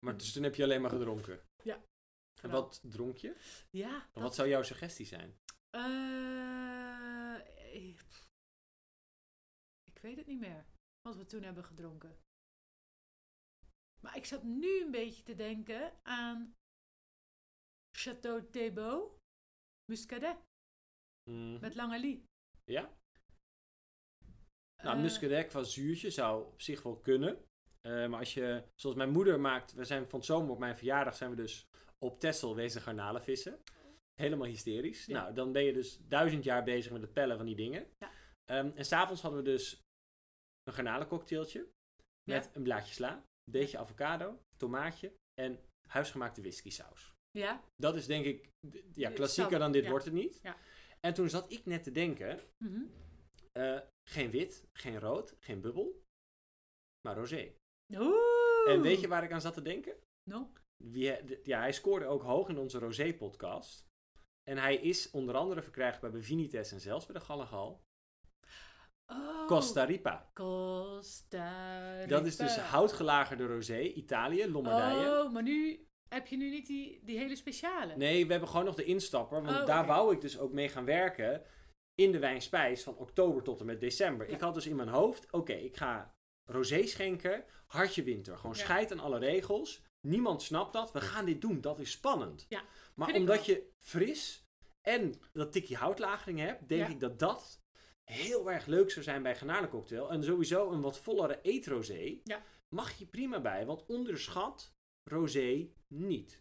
Maar dus toen heb je alleen maar gedronken. En
knap.
wat dronk je?
Ja.
En Wat zou jouw suggestie zijn?
eh, eh, pff. ik weet het niet meer. Wat we toen hebben gedronken. Maar ik zat nu een beetje te denken aan Chateau Thiebaud Muscadet
Mhm.
met Lange Lee.
Ja? Nou,
Eh,
muscadec qua zuurtje zou op zich wel kunnen. Eh, maar als je, zoals mijn moeder maakt, we zijn van het zomer op mijn verjaardag zijn we dus op Texel wezen garnalen vissen. Helemaal hysterisch.
Ja.
Nou, dan ben je dus duizend jaar bezig met het pellen van die dingen.
Ja.
Ehm, en s'avonds hadden we dus een garnalencocktailtje met een blaadje sla, een beetje avocado, tomaatje en huisgemaakte whiskysaus.
Ja,
Dat is denk ik, d- ja,
Dit
klassieker
zou-
dan dit
ja.
wordt het niet.
Ja.
En toen zat ik net te denken,
mhm.
eh, geen wit, geen rood, geen bubbel, maar rosé.
Oeh.
En weet je waar ik aan zat te denken?
No?
Wie he- d- ja, hij scoorde ook hoog in onze rosé-podcast. En hij is onder andere verkrijgbaar bij Vinites en zelfs bij de Gallegal.
Oh.
Costa Rica.
Costa
Dat is dus
Rica.
houtgelagerde rosé, Italië, Lombardije.
Oh, maar nu heb je nu niet die, die hele speciale.
Nee, we hebben gewoon nog de instapper. Want
Oh,
daar
oké.
wou ik dus ook mee gaan werken. In de wijnspijs van oktober tot en met december.
Ja.
Ik had dus in mijn hoofd: oké, ik ga rosé schenken. Hartje winter. Gewoon
Ja.
scheid aan alle regels. Niemand snapt dat. We gaan dit doen. Dat is spannend.
Ja,
maar
vind ik
omdat je fris en dat tikje houtlagering hebt, denk
Ja.
ik dat dat heel erg leuk zou zijn bij garnalencocktail. En sowieso een wat vollere eetrosé.
Ja.
Mag je prima bij, want onderschat rosé niet.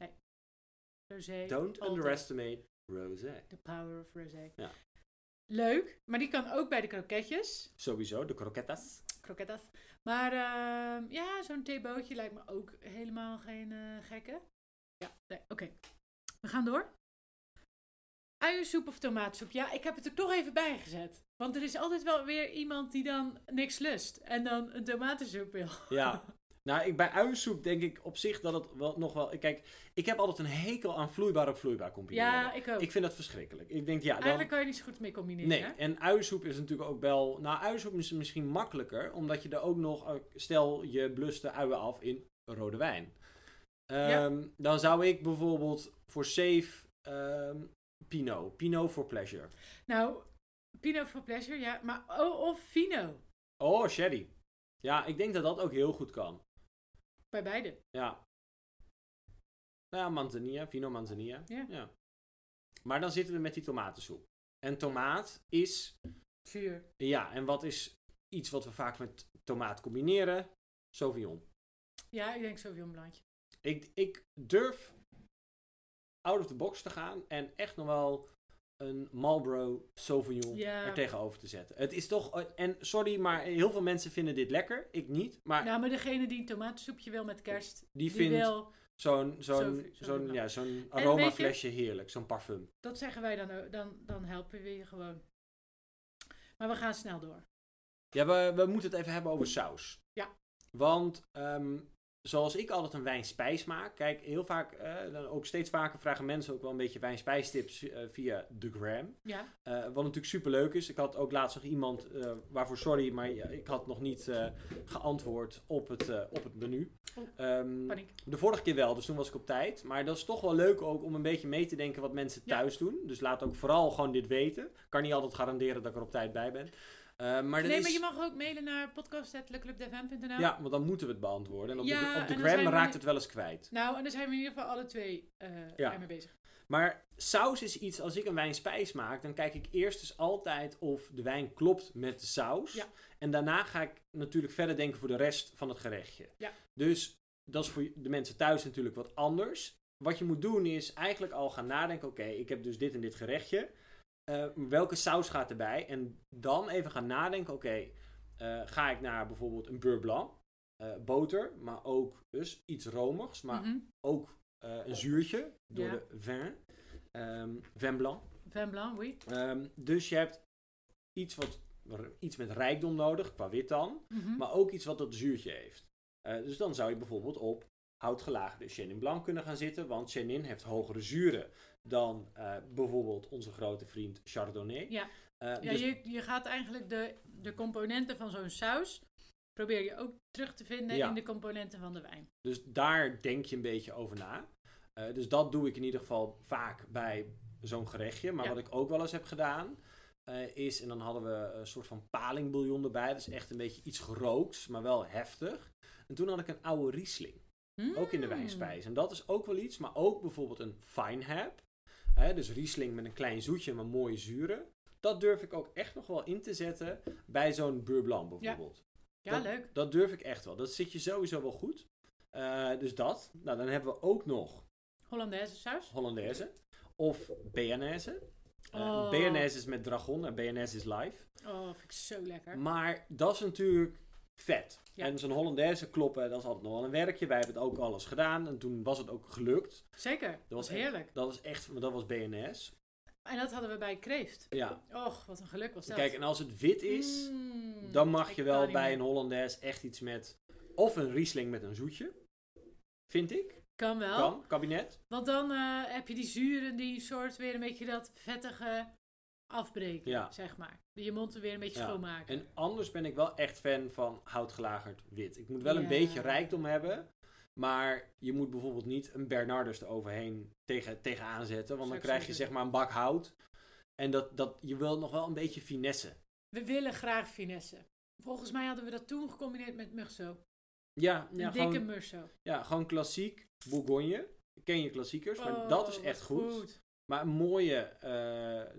Rosé.
Don't
altijd.
underestimate rosé.
The power of rosé.
Ja.
Leuk, maar die kan ook bij de kroketjes.
Sowieso, de croquetas.
Krokettas. Maar ehm, ja, zo'n theebootje lijkt me ook helemaal geen eh, gekke. Ja, nee, oké. We gaan door. Uiensoep of tomaatsoep? Ja, ik heb het er toch even bij gezet. Want er is altijd wel weer iemand die dan niks lust. En dan een tomatensoep wil.
Ja. Nou, ik, bij uiensoep denk ik op zich dat het wel, nog wel... Kijk, ik heb altijd een hekel aan vloeibaar op vloeibaar combineren.
Ja, ik ook.
Ik vind dat verschrikkelijk. Ik denk, ja, dan...
Eigenlijk kan je niet zo goed mee combineren.
Nee,
hè?
en uiensoep is natuurlijk ook wel... Nou, uiensoep is misschien makkelijker, omdat je er ook nog... eh, Stel, je blust de uien af in rode wijn. Ehm, Dan zou ik bijvoorbeeld voor safe ehm Pinot. Pinot for pleasure.
Nou, Pinot for Pleasure, ja. Maar oh, of Vino.
Oh, sherry. Ja, ik denk dat dat ook heel goed kan.
Bij beide.
Ja. Nou ja, manzanilla, Vino manzanilla.
Ja.
Maar dan zitten we met die tomatensoep. En tomaat is
Zuur.
Ja, en wat is iets wat we vaak met tomaat combineren? Sauvignon.
Ja, ik denk Sauvignon Blancje.
Ik, ik durf out of the box te gaan en echt nog wel een Marlboro Sauvignon
Ja.
er tegenover te zetten. Het is toch, en sorry, maar heel veel mensen vinden dit lekker. Ik niet, maar
Nou, maar degene die een tomatensoepje wil met kerst,
die
die,
vindt
wil...
zo'n zo'n
Sauvignon
zo'n
Blanc.
ja, zo'n
weet
aromaflesje heerlijk, zo'n parfum.
Dat zeggen wij dan ook. Dan, dan helpen we je gewoon. Maar we gaan snel door.
Ja, we, we moeten het even hebben over saus.
Ja.
Want ehm, zoals ik altijd een wijnspijs maak, kijk, heel vaak, eh, dan ook steeds vaker vragen mensen ook wel een beetje wijnspijstips eh, via de gram.
Ja,
Eh, wat natuurlijk super leuk is. Ik had ook laatst nog iemand, eh, waarvoor sorry, maar ja, ik had nog niet eh, geantwoord op het, eh, op het menu.
Oh,
Ehm,
paniek.
de vorige keer wel, dus toen was ik op tijd. Maar dat is toch wel leuk ook om een beetje mee te denken wat mensen
Ja.
thuis doen. Dus laat ook vooral gewoon dit weten. Ik kan niet altijd garanderen dat ik er op tijd bij ben. Eh, maar dat
nee,
is...
maar je mag ook mailen naar podcast.clubdevm.nl.
Ja, want dan moeten we het beantwoorden. En op
nou? Ja,
de, op de
en dan zijn
gram
we
raakt
niet-
het wel eens kwijt.
Nou, en daar zijn we in ieder geval alle twee eh
Ja.
mee bezig.
Maar saus is iets, als ik een wijnspijs maak, dan kijk ik eerst dus altijd of de wijn klopt met de saus.
Ja.
En daarna ga ik natuurlijk verder denken voor de rest van het gerechtje.
Ja.
Dus dat is voor de mensen thuis natuurlijk wat anders. Wat je moet doen is eigenlijk al gaan nadenken, oké, ik heb dus dit en dit gerechtje. Eh, welke saus gaat erbij? En dan even gaan nadenken, oké, eh, ga ik naar bijvoorbeeld een beurre blanc, eh, boter, maar ook dus iets romigs, maar
Mhm.
ook eh, een zuurtje door
Ja.
de vin. ehm, vin blanc.
Vin Blanc, oui.
Ehm, dus je hebt iets, wat, iets met rijkdom nodig, qua wit dan.
Mhm.
Maar ook iets wat dat zuurtje heeft. Eh, dus dan zou je bijvoorbeeld op houtgelaagde Chenin Blanc kunnen gaan zitten. Want Chenin heeft hogere zuren dan eh, bijvoorbeeld onze grote vriend Chardonnay.
Ja.
Eh,
Ja,
dus
je, je gaat eigenlijk de, de componenten van zo'n saus probeer je ook terug te vinden
Ja.
in de componenten van de wijn.
Dus daar denk je een beetje over na. Eh, dus dat doe ik in ieder geval vaak bij zo'n gerechtje. Maar
Ja.
wat ik ook wel eens heb gedaan, eh, is, en dan hadden we een soort van palingbouillon erbij. Dat is echt een beetje iets gerookt, maar wel heftig. En toen had ik een oude riesling, ook in de
Mm.
wijnspijs. En dat is ook wel iets, maar ook bijvoorbeeld een fine hap. Hè, dus riesling met een klein zoetje, maar mooie zuren. Dat durf ik ook echt nog wel in te zetten bij zo'n beurre blanc bijvoorbeeld.
Ja,
Dat-
leuk.
Dat durf ik echt wel. Dat zit je sowieso wel goed. Eh, dus dat. Nou, dan hebben we ook nog
Hollandaise saus.
Hollandaise. Of Béarnaise. Eh
Oh.
Béarnaise is met dragon en Béarnaise is live.
Oh, vind ik zo lekker.
Maar dat is natuurlijk vet.
Ja.
En zo'n Hollandaise kloppen, dat is altijd nog wel een werkje. Wij hebben het ook alles gedaan. En toen was het ook gelukt.
Zeker. Dat was
was echt-
heerlijk.
Dat was echt, maar dat was BNS.
En dat hadden we bij kreeft.
Ja.
Och, wat een geluk was dat.
Kijk, en als het wit is,
Mm,
dan mag
ik
je
kan
wel
niet
bij
meer.
een Hollandaise echt iets met... Of een Riesling met een zoetje. Vind ik.
Kan wel.
Kan, kabinet.
Want dan eh, heb je die zuren, die soort weer een beetje dat vettige afbreken,
Ja.
zeg maar. Je mond weer een beetje
Ja.
schoonmaken.
En anders ben ik wel echt fan van houtgelagerd wit. Ik moet wel
Ja.
een beetje rijkdom hebben. Maar je moet bijvoorbeeld niet een Bernardus eroverheen tegen, tegenaan zetten. Want
Zou
dan
ik
krijg
zo
je
doen.
zeg maar een bak hout. En dat, dat, je wilt nog wel een beetje finesse.
We willen graag finesse. Volgens mij hadden we dat toen gecombineerd met murso.
Ja,
Een
ja,
dikke
gewoon,
murso.
ja gewoon klassiek Bourgogne. Ken je klassiekers, maar dat is
Oh,
echt
wat
goed. Maar een mooie eh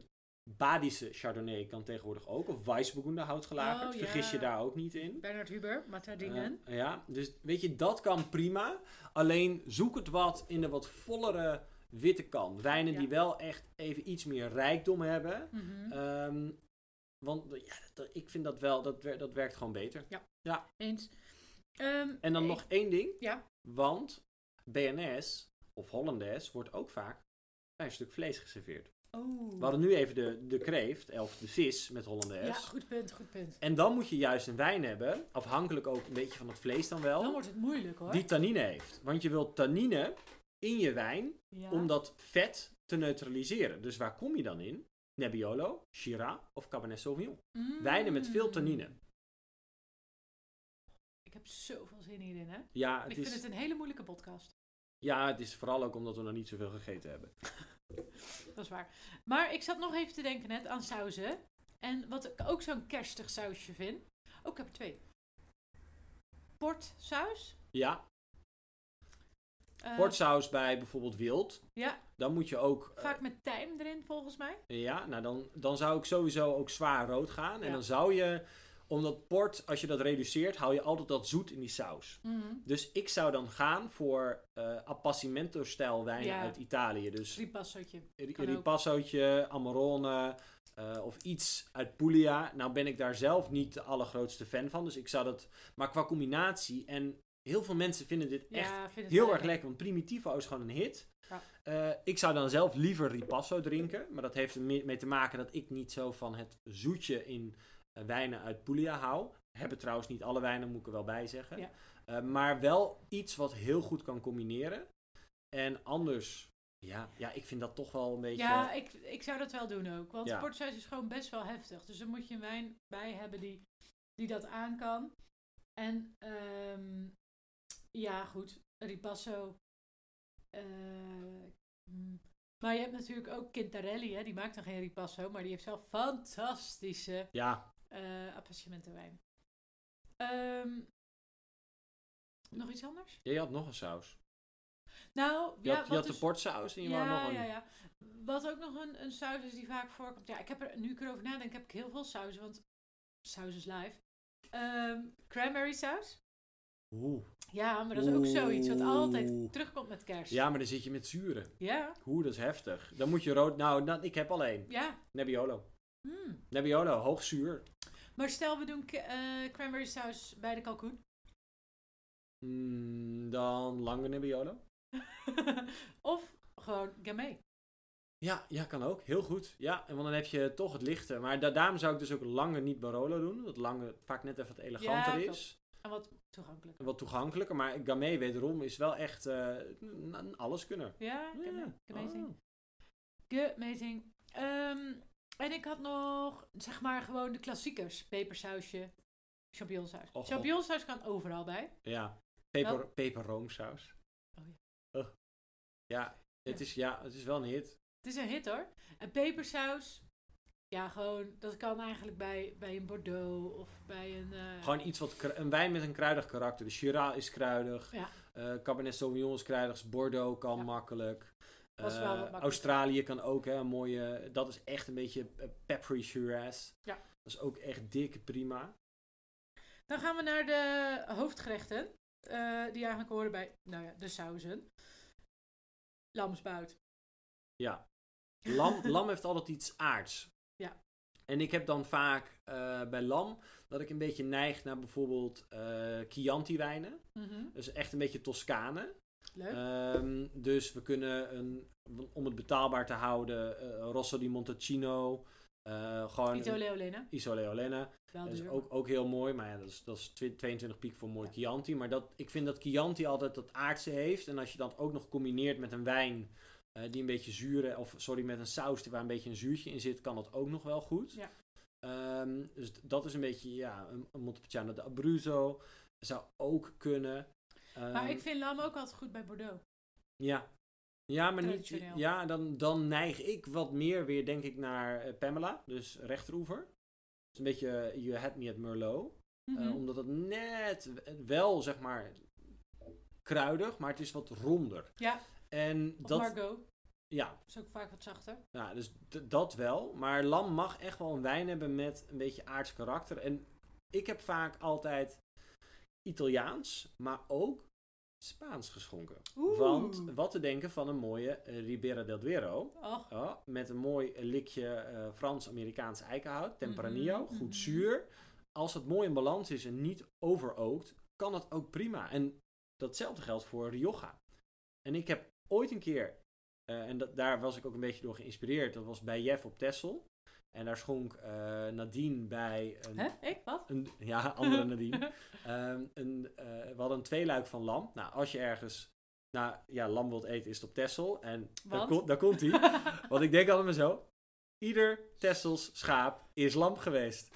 Badische Chardonnay kan tegenwoordig ook. Of Weissburgunder houtgelagerd.
Oh, ja.
Vergis je daar ook niet in.
Bernard Huber, Matadingen.
Eh, ja, dus weet je, dat kan prima. Alleen zoek het wat in de wat vollere witte kant. Wijnen
Ja.
die wel echt even iets meer rijkdom hebben.
Mhm.
Ehm, want ja, dat- ik vind dat wel, dat, wer- dat werkt gewoon beter.
Eens. Ehm,
En dan
ik-
nog één ding.
Ja.
Want BNS of Hollandaise wordt ook vaak bij een stuk vlees geserveerd.
Oh.
We hadden nu even de, de kreeft, of de vis met
ja,
Hollandaise.
goed punt, goed punt.
En dan moet je juist een wijn hebben, afhankelijk ook een beetje van het vlees dan wel,
Dan wordt het moeilijk hoor.
die tannine heeft. Want je wilt tannine in je wijn
ja.
om dat vet te neutraliseren. Dus waar kom je dan in? Nebbiolo, Shiraz of Cabernet Sauvignon.
Mm.
Wijnen met veel tannine.
Ik heb zoveel zin hierin hè.
Ja het,
ik
is,
vind het een hele moeilijke podcast.
ja, het is vooral ook omdat we nog niet zoveel gegeten hebben.
Dat is waar. Maar ik zat nog even te denken net aan sauzen. En wat ik ook zo'n kerstig sausje vind. Oh, ik heb er twee. Portsaus.
Ja,
Eh,
portsaus bij bijvoorbeeld wild.
Ja.
Dan moet je ook... eh,
Vaak met tijm erin, volgens mij.
Ja, nou dan, dan zou ik sowieso ook zwaar rood gaan. En
Ja.
dan zou je, omdat port, als je dat reduceert, hou je altijd dat zoet in die saus. Dus ik zou dan gaan voor eh appassimento-stijl wijn
Ja.
uit Italië. Dus
Ripassotje.
ri-
kan ook.
ripassootje, amarone eh, of iets uit Puglia. Nou ben ik daar zelf niet de allergrootste fan van. Dus ik zou dat... Maar qua combinatie en... Heel veel mensen vinden dit echt
Ja, vind het
heel
wel
erg lekker, want Primitivo is gewoon een hit.
Ja.
Eh, ik zou dan zelf liever Ripasso drinken, maar dat heeft er meer mee te maken dat ik niet zo van het zoetje in eh, wijnen uit Puglia hou. Hebben trouwens niet alle wijnen, moet ik er wel bij zeggen.
Ja.
Eh, maar wel iets wat heel goed kan combineren. En anders, ja, ja ik vind dat toch wel een beetje...
Ja, eh, ik, ik zou dat wel doen ook. Want
Ja.
portsaus is gewoon best wel heftig. Dus dan moet je een wijn bij hebben die, die dat aan kan. En ehm, ja, goed. Ripasso. eh, mm. maar je hebt natuurlijk ook Quintarelli. Hè? Die maakt dan geen ripasso. Maar die heeft wel fantastische
Ja,
eh appassementenwijn. Ehm, nog iets anders?
jij had nog een saus.
Nou,
Je
ja,
had, je
wat
had
dus-
de portsaus en je wou nog een...
ja, ja. Wat ook nog een, een saus is die vaak voorkomt. Ja, ik heb er, nu ik erover nadenk, heb ik heel veel sauzen, want saus is live. Ehm, cranberry saus.
Oeh.
Ja, maar dat is ook
Oeh.
zoiets wat altijd terugkomt met kerst.
ja, maar dan zit je met zuren.
Ja.
Oeh, dat is heftig. Dan moet je rood... Nou, dan, ik heb alleen
ja.
Nebbiolo.
Mm.
Nebbiolo, hoog zuur.
Maar stel, we doen ke- eh, cranberry saus bij de kalkoen.
Mm, dan lange Nebbiolo.
of gewoon gamay.
Ja, ja, kan ook. Heel goed. Ja, en want dan heb je toch het lichte. Maar da- daarom zou ik dus ook lange niet Barolo doen. Omdat lange vaak net even wat eleganter
Ja, klopt.
is.
En wat toegankelijk.
En wat toegankelijker. Maar Gamay wederom is wel echt eh, een een alleskunner.
Ja,
Ja.
gamay. Gamay
Ah.
Amazing. Ehm, en ik had nog, zeg maar, gewoon de klassiekers. Pepersausje, champignonsaus.
god.
champignonsaus kan overal bij.
Ja, peper, peperroomsaus.
Oh ja.
Ugh. Ja, het is, ja, het is wel een hit.
Het is een hit hoor. En pepersaus, ja, gewoon, dat kan eigenlijk bij, bij een Bordeaux of bij een... eh,
Gewoon iets wat, kru- een wijn met een kruidig karakter. De Shiraz is kruidig.
Ja.
Eh, Cabernet Sauvignon is kruidig. Dus Bordeaux kan
Ja.
makkelijk.
Was wel
Eh,
wat makkelijker.
Australië kan ook, hè, een mooie. Dat is echt een beetje eh, peppery Shiraz.
Ja.
Dat is ook echt dik, prima.
Dan gaan we naar de hoofdgerechten. eh, die eigenlijk horen bij, nou ja, de sauzen. Lamsbout.
Ja. Lam, lam heeft altijd iets aards.
Ja.
En ik heb dan vaak eh, bij lam dat ik een beetje neig naar bijvoorbeeld eh, Chianti wijnen.
Mhm,
Dus echt een beetje Toscane.
Leuk.
Ehm, dus we kunnen, een, om het betaalbaar te houden, eh, Rosso di Montalcino. eh, gewoon
Vito Leolena.
Isole Olena.
Wel
Dat is
duur.
ook, ook heel mooi, maar ja, dat is, dat is twi- 22 piek voor mooi Chianti. Maar dat, ik vind dat Chianti altijd dat aardse heeft. En als je dat ook nog combineert met een wijn eh, die een beetje zure, of sorry, met een saus die waar een beetje een zuurtje in zit, kan dat ook nog wel goed.
Ja.
Ehm, dus d- dat is een beetje, ja, een, een Montepulciano de Abruzzo zou ook kunnen.
Maar
Ehm,
ik vind lam ook altijd goed bij Bordeaux.
ja. Ja, maar niet,
Traditioneel.
ja, dan, dan neig ik wat meer weer, denk ik, naar eh, Pamela, dus rechteroever. Het is een beetje eh, You Had Me at Merlot. Eh,
Mhm.
omdat het net wel, zeg maar, kruidig, maar het is wat ronder.
Ja.
En
Of
dat,
Margot.
ja,
is ook vaak wat zachter.
ja, dus d- dat wel. Maar lam mag echt wel een wijn hebben met een beetje aards karakter. En ik heb vaak altijd Italiaans, maar ook Spaans geschonken. Want wat te denken van een mooie eh, Ribera del Duero.
Och,
Oh, met een mooi likje eh, Frans-Amerikaans eikenhout, Tempranillo,
Mhm, mhm.
goed zuur. Als het mooi in balans is en niet overookt, kan dat ook prima. En datzelfde geldt voor Rioja. En ik heb ooit een keer Eh, en dat, daar was ik ook een beetje door geïnspireerd. Dat was bij Jeff op Tessel. En daar schonk eh, Nadine bij een,
Hè? Ik? Wat?
een ja, andere Nadine. Ehm, een, eh, we hadden een tweeluik van lam. Nou, als je ergens nou, ja, lam wilt eten, is het op Tessel. En daar,
Want?
kon- daar komt hij. Want ik denk allemaal zo. Ieder Tessels schaap is lam geweest.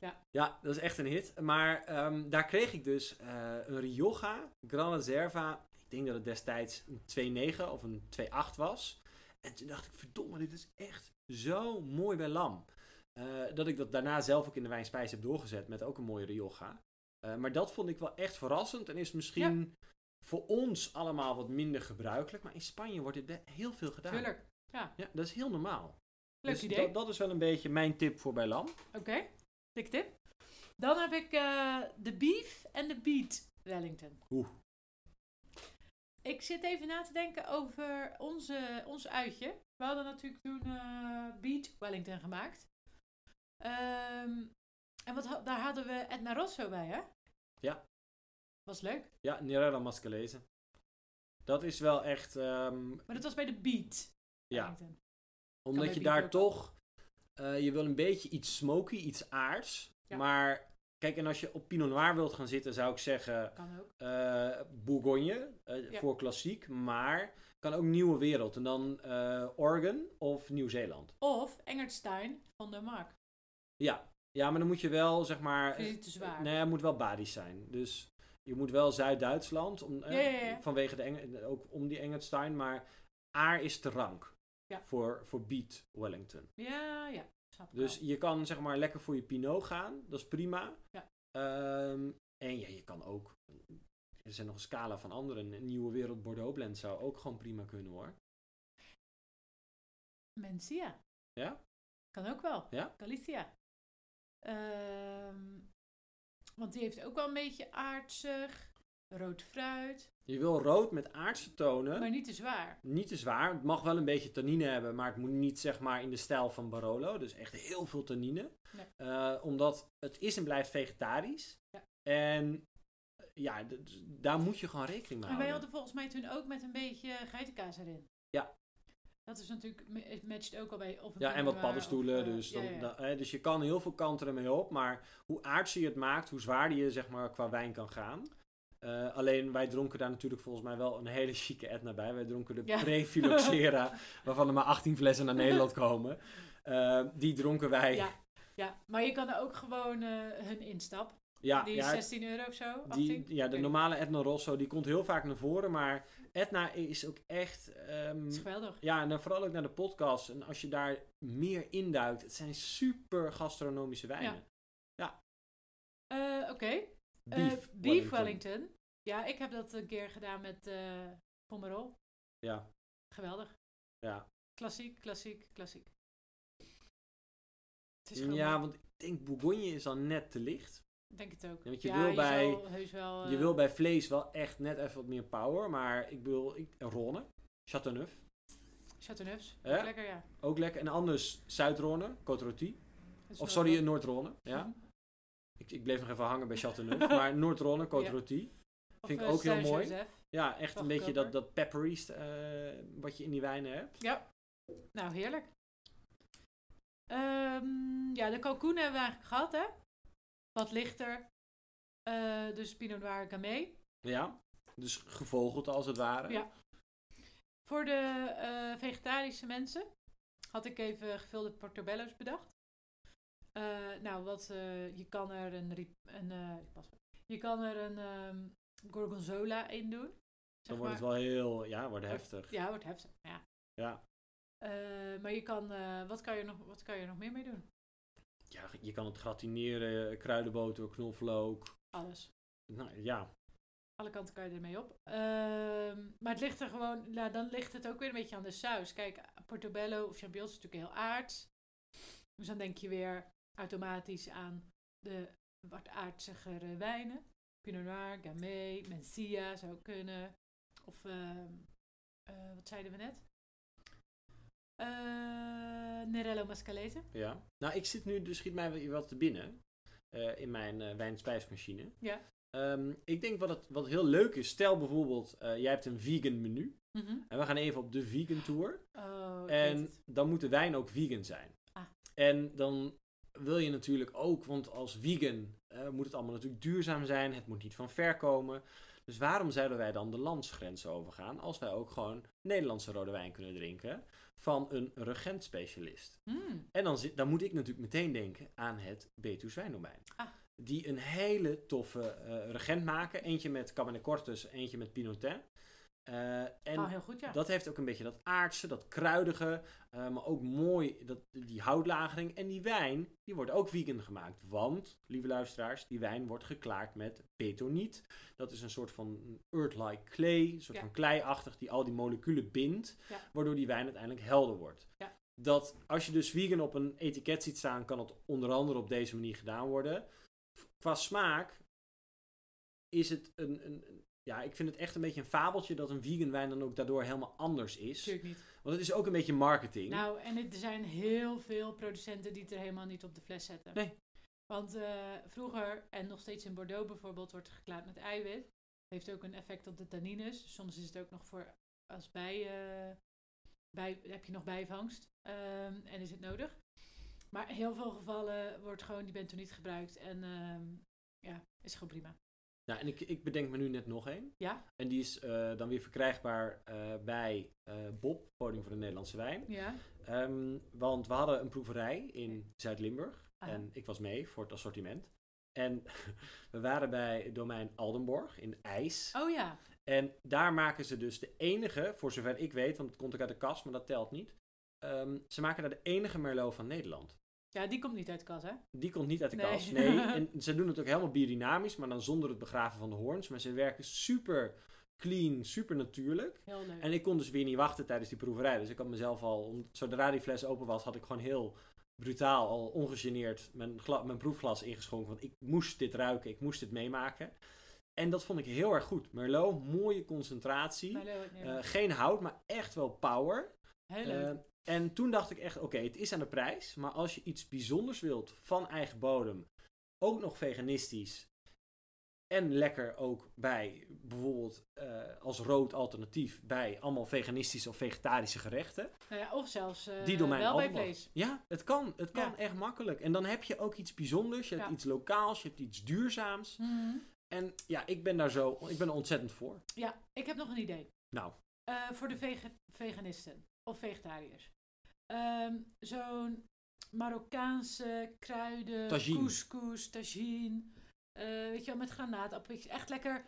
Ja.
ja, dat is echt een hit. Maar ehm, daar kreeg ik dus eh, een Rioja Gran Reserva. Ik denk dat het destijds een 2,9 of een 2,8 was. En toen dacht ik, verdomme, dit is echt zo mooi bij lam. Eh, dat ik dat daarna zelf ook in de wijnspijs heb doorgezet met ook een mooie Rioja. Eh, maar dat vond ik wel echt verrassend en is misschien voor ons allemaal wat minder gebruikelijk. Maar in Spanje wordt dit be- heel veel gedaan.
Tuurlijk.
Ja, dat is heel normaal.
Leuk
Dus
idee.
Dat, dat is wel een beetje mijn tip voor bij lam.
Oké, dik tip. Dan heb ik eh, de beef en de beet Wellington.
Oeh.
Ik zit even na te denken over onze, ons uitje. We hadden natuurlijk toen eh beet Wellington gemaakt. Ehm, en wat, ha- daar hadden we Edna Rosso bij, hè?
Ja.
Was leuk.
Ja, Nerera Mascalese. Dat is wel echt, ehm,
Maar dat was bij de beet
ja,
Wellington. bij
omdat je
bier
daar
ook.
toch, eh, je wil een beetje iets smoky, iets aards.
Ja.
Maar kijk, en als je op Pinot Noir wilt gaan zitten, zou ik zeggen
Kan ook.
eh, Bourgogne eh,
Ja.
voor klassiek, maar kan ook Nieuwe Wereld en dan eh, Oregon of Nieuw-Zeeland.
Of Engertstein van de Mark.
Ja. ja, maar dan moet je wel, zeg maar, eh,
Vind je het te zwaar?
Nee, het moet wel badisch zijn. Dus je moet wel Zuid-Duitsland, om, eh,
Ja, ja, ja.
vanwege de Eng- ook om die Engelstein, maar Aar is te rank
Ja.
voor, voor Beat Wellington.
Ja, ja. Snap ik
Dus
wel.
je kan zeg maar lekker voor je Pinot gaan, dat is prima.
Ja.
Ehm, en ja, je kan ook, er zijn nog een scala van anderen, een Nieuwe Wereld Bordeaux Blend zou ook gewoon prima kunnen hoor.
Mencia.
Ja?
Kan ook wel.
Ja?
Galicia. Ehm, want die heeft ook wel een beetje aardsig, rood fruit,
Je wil rood met aardse tonen,
maar niet te zwaar.
niet te zwaar. Het mag wel een beetje tannine hebben, maar het moet niet zeg maar in de stijl van Barolo. Dus echt heel veel tannine.
Nee.
Eh, omdat het is en blijft vegetarisch.
Ja.
En eh, ja, d- d- daar moet je gewoon rekening mee
En wij
houden.
hadden volgens mij toen ook met een beetje geitenkaas erin.
Ja.
Dat is natuurlijk, me- het matcht ook al bij... Of een
Ja, en
Pinot
wat
Noir
paddenstoelen.
of, eh,
dus,
ja,
dan,
ja.
dan- eh, dus je kan heel veel kanten ermee op. Maar hoe aardser je het maakt, hoe zwaarder je zeg maar, qua wijn kan gaan. Eh, alleen wij dronken daar natuurlijk volgens mij wel een hele chique etna bij. Wij dronken de
Ja.
Prefiloxera, waarvan er maar 18 flessen naar Nederland komen. Eh, die dronken wij.
Ja. Ja, maar je kan er ook gewoon eh, hun instap.
Ja,
die is
ja,
16 euro of zo, 18?
die, ja,
Ik
de
weet
normale Etna Rosso die komt heel vaak naar voren, maar Etna is ook echt. ehm,
niet. is geweldig.
ja, en dan vooral ook naar de podcast. En als je daar meer induikt, het zijn super gastronomische wijnen.
Eh, Oké, Eh,
Beef,
beef Wellington. Ja, ik heb dat een keer gedaan met eh Pomerol.
Ja,
Geweldig.
ja.
Klassiek, klassiek, klassiek. Het is gewoon,
ja, want ik denk Bourgogne is dan net te licht.
ik denk het ook.
Ja, want je
ja,
wil bij-
zal heus wel, eh,
Je wil bij vlees wel echt net even wat meer power, maar ik bedoel, ik, Rhône, Châteauneuf,
Chateauneufs.
Ja?
Lekker, ja.
ook lekker. En anders Zuid-Rhône, Côte Rôtie.
Dat is
Of
wel
sorry, eh,
goed.
Noord-Rhône, ja. Ik, ik bleef nog even hangen bij Châteauneuf, maar Noord-Rhône, Côte
Ja.
Rôtie.
Of,
vind ik
eh,
ook heel
Saint
mooi.
Joseph.
Ja, echt een
Wel
beetje dat,
goedkoper.
dat peppery eh, wat je in die wijnen hebt.
Nou, heerlijk. Ehm, ja, de kalkoen hebben we eigenlijk gehad, hè? Wat lichter. Eh, dus Pinot Noir Gamay.
Ja, dus gevogeld als het ware.
Ja. Voor de eh, vegetarische mensen had ik even gevulde portobello's bedacht. Eh, nou, wat, eh, je kan er een, ri- een eh, ik pas- je kan er een ehm, gorgonzola in doen.
Dan
Zeg
wordt het
maar.
wel heel, ja, wordt heftig.
Ja, wordt heftig. Ja.
Ja.
Eh, maar je kan, eh, wat, kan je nog, wat kan je er nog meer mee doen?
Ja, je kan het gratineren, kruidenboter, knoflook.
Alles.
Nou ja,
Alle kanten kan je ermee op. Ehm, maar het ligt er gewoon, nou, dan ligt het ook weer een beetje aan de saus. Kijk, portobello of champignons is natuurlijk heel aards. Dus dan denk je weer automatisch aan de wat aardsigere wijnen. Pinot Noir, Gamay, Mencia zou kunnen. Of, ehm, eh, wat zeiden we net? Eh, Nerello Mascalese.
ja. Nou, ik zit nu, dus schiet mij wel wat te binnen eh, in mijn eh wijn-spijsmachine.
Ja.
Ehm, ik denk wat, het, wat heel leuk is, stel bijvoorbeeld, eh, jij hebt een vegan menu.
Mhm.
En we gaan even op de vegan tour.
Oh, ik weet
En
het.
dan moet de wijn ook vegan zijn.
Ah.
En dan wil je natuurlijk ook, want als vegan eh, moet het allemaal natuurlijk duurzaam zijn. Het moet niet van ver komen. Dus waarom zouden wij dan de landsgrenzen overgaan als wij ook gewoon Nederlandse rode wijn kunnen drinken van een regentspecialist?
Hmm.
En dan, zit, dan moet ik natuurlijk meteen denken aan het Betuws Wijndomein.
Ah.
Die een hele toffe eh, regent maken. Eentje met Cabernet Cortus, eentje met Pinotin. Eh, en
oh, heel goed, ja.
dat heeft ook een beetje dat aardse, dat kruidige, eh, maar ook mooi dat, die houtlagering. En die wijn, die wordt ook vegan gemaakt. Want, lieve luisteraars, die wijn wordt geklaard met betoniet. Dat is een soort van earth-like clay, een soort
Ja.
van kleiachtig die al die moleculen bindt.
Ja.
Waardoor die wijn uiteindelijk helder wordt.
Ja.
Dat als je dus vegan op een etiket ziet staan, kan het onder andere op deze manier gedaan worden. Qua smaak is het een, een, ja, ik vind het echt een beetje een fabeltje dat een vegan wijn dan ook daardoor helemaal anders is.
Natuurlijk niet.
Want het is ook een beetje marketing.
Nou, en het- er zijn heel veel producenten die het er helemaal niet op de fles zetten.
Nee.
Want eh, vroeger, en nog steeds in Bordeaux bijvoorbeeld, wordt er geklaard met eiwit. Heeft ook een effect op de tannines. Soms is het ook nog voor als bij, eh, bij heb je nog bijvangst. ehm, en is het nodig. Maar in heel veel gevallen wordt gewoon die bento niet gebruikt. En ehm, ja, is gewoon prima.
Nou, en ik, ik bedenk me nu net nog één.
Ja.
En die is eh, dan weer verkrijgbaar eh, bij eh, Bob, Podium voor de Nederlandse Wijn.
Ja.
Ehm, want we hadden een proeverij in Zuid-Limburg.
Ah.
En ik was mee voor het assortiment. En we waren bij het domein Aldenborg in IJs.
Oh ja.
En daar maken ze dus de enige, voor zover ik weet, want het komt ook uit de kast, maar dat telt niet. Ehm, ze maken daar de enige Merlot van Nederland.
Ja, die komt niet uit de kas, hè?
Die komt niet uit de
Nee.
kast. Nee. En ze doen het ook helemaal biodynamisch, maar dan zonder het begraven van de hoorns. Maar ze werken super clean, super natuurlijk.
Heel leuk.
En ik kon dus weer niet wachten tijdens die proeverij. Dus ik had mezelf al, om- zodra die fles open was, had ik gewoon heel brutaal, al ongegeneerd mijn, gla- mijn proefglas ingeschonken. Want ik moest dit ruiken, ik moest dit meemaken. En dat vond ik heel erg goed. Merlot, mooie concentratie.
Maar leuk, nee.
Eh, geen hout, maar echt wel power.
heel leuk.
Eh, en toen dacht ik echt, oké, het is aan de prijs. Maar als je iets bijzonders wilt van eigen bodem, ook nog veganistisch en lekker ook bij bijvoorbeeld eh, als rood alternatief bij allemaal veganistische of vegetarische gerechten.
Nou ja, of zelfs eh,
die door mijn
wel bij
allemaal-
vlees.
Ja, het kan. Het kan
Ja.
echt makkelijk. En dan heb je ook iets bijzonders. Je hebt
Ja.
iets lokaals, je hebt iets duurzaams.
Mhm.
En ja, ik ben daar zo, ik ben er ontzettend voor.
Ja, ik heb nog een idee.
Nou.
Eh, voor de vege- veganisten of vegetariërs. Ehm, Zo'n Marokkaanse kruiden,
Tagine.
couscous, tagine. eh, weet je wel, met granaatappeltjes. Echt lekker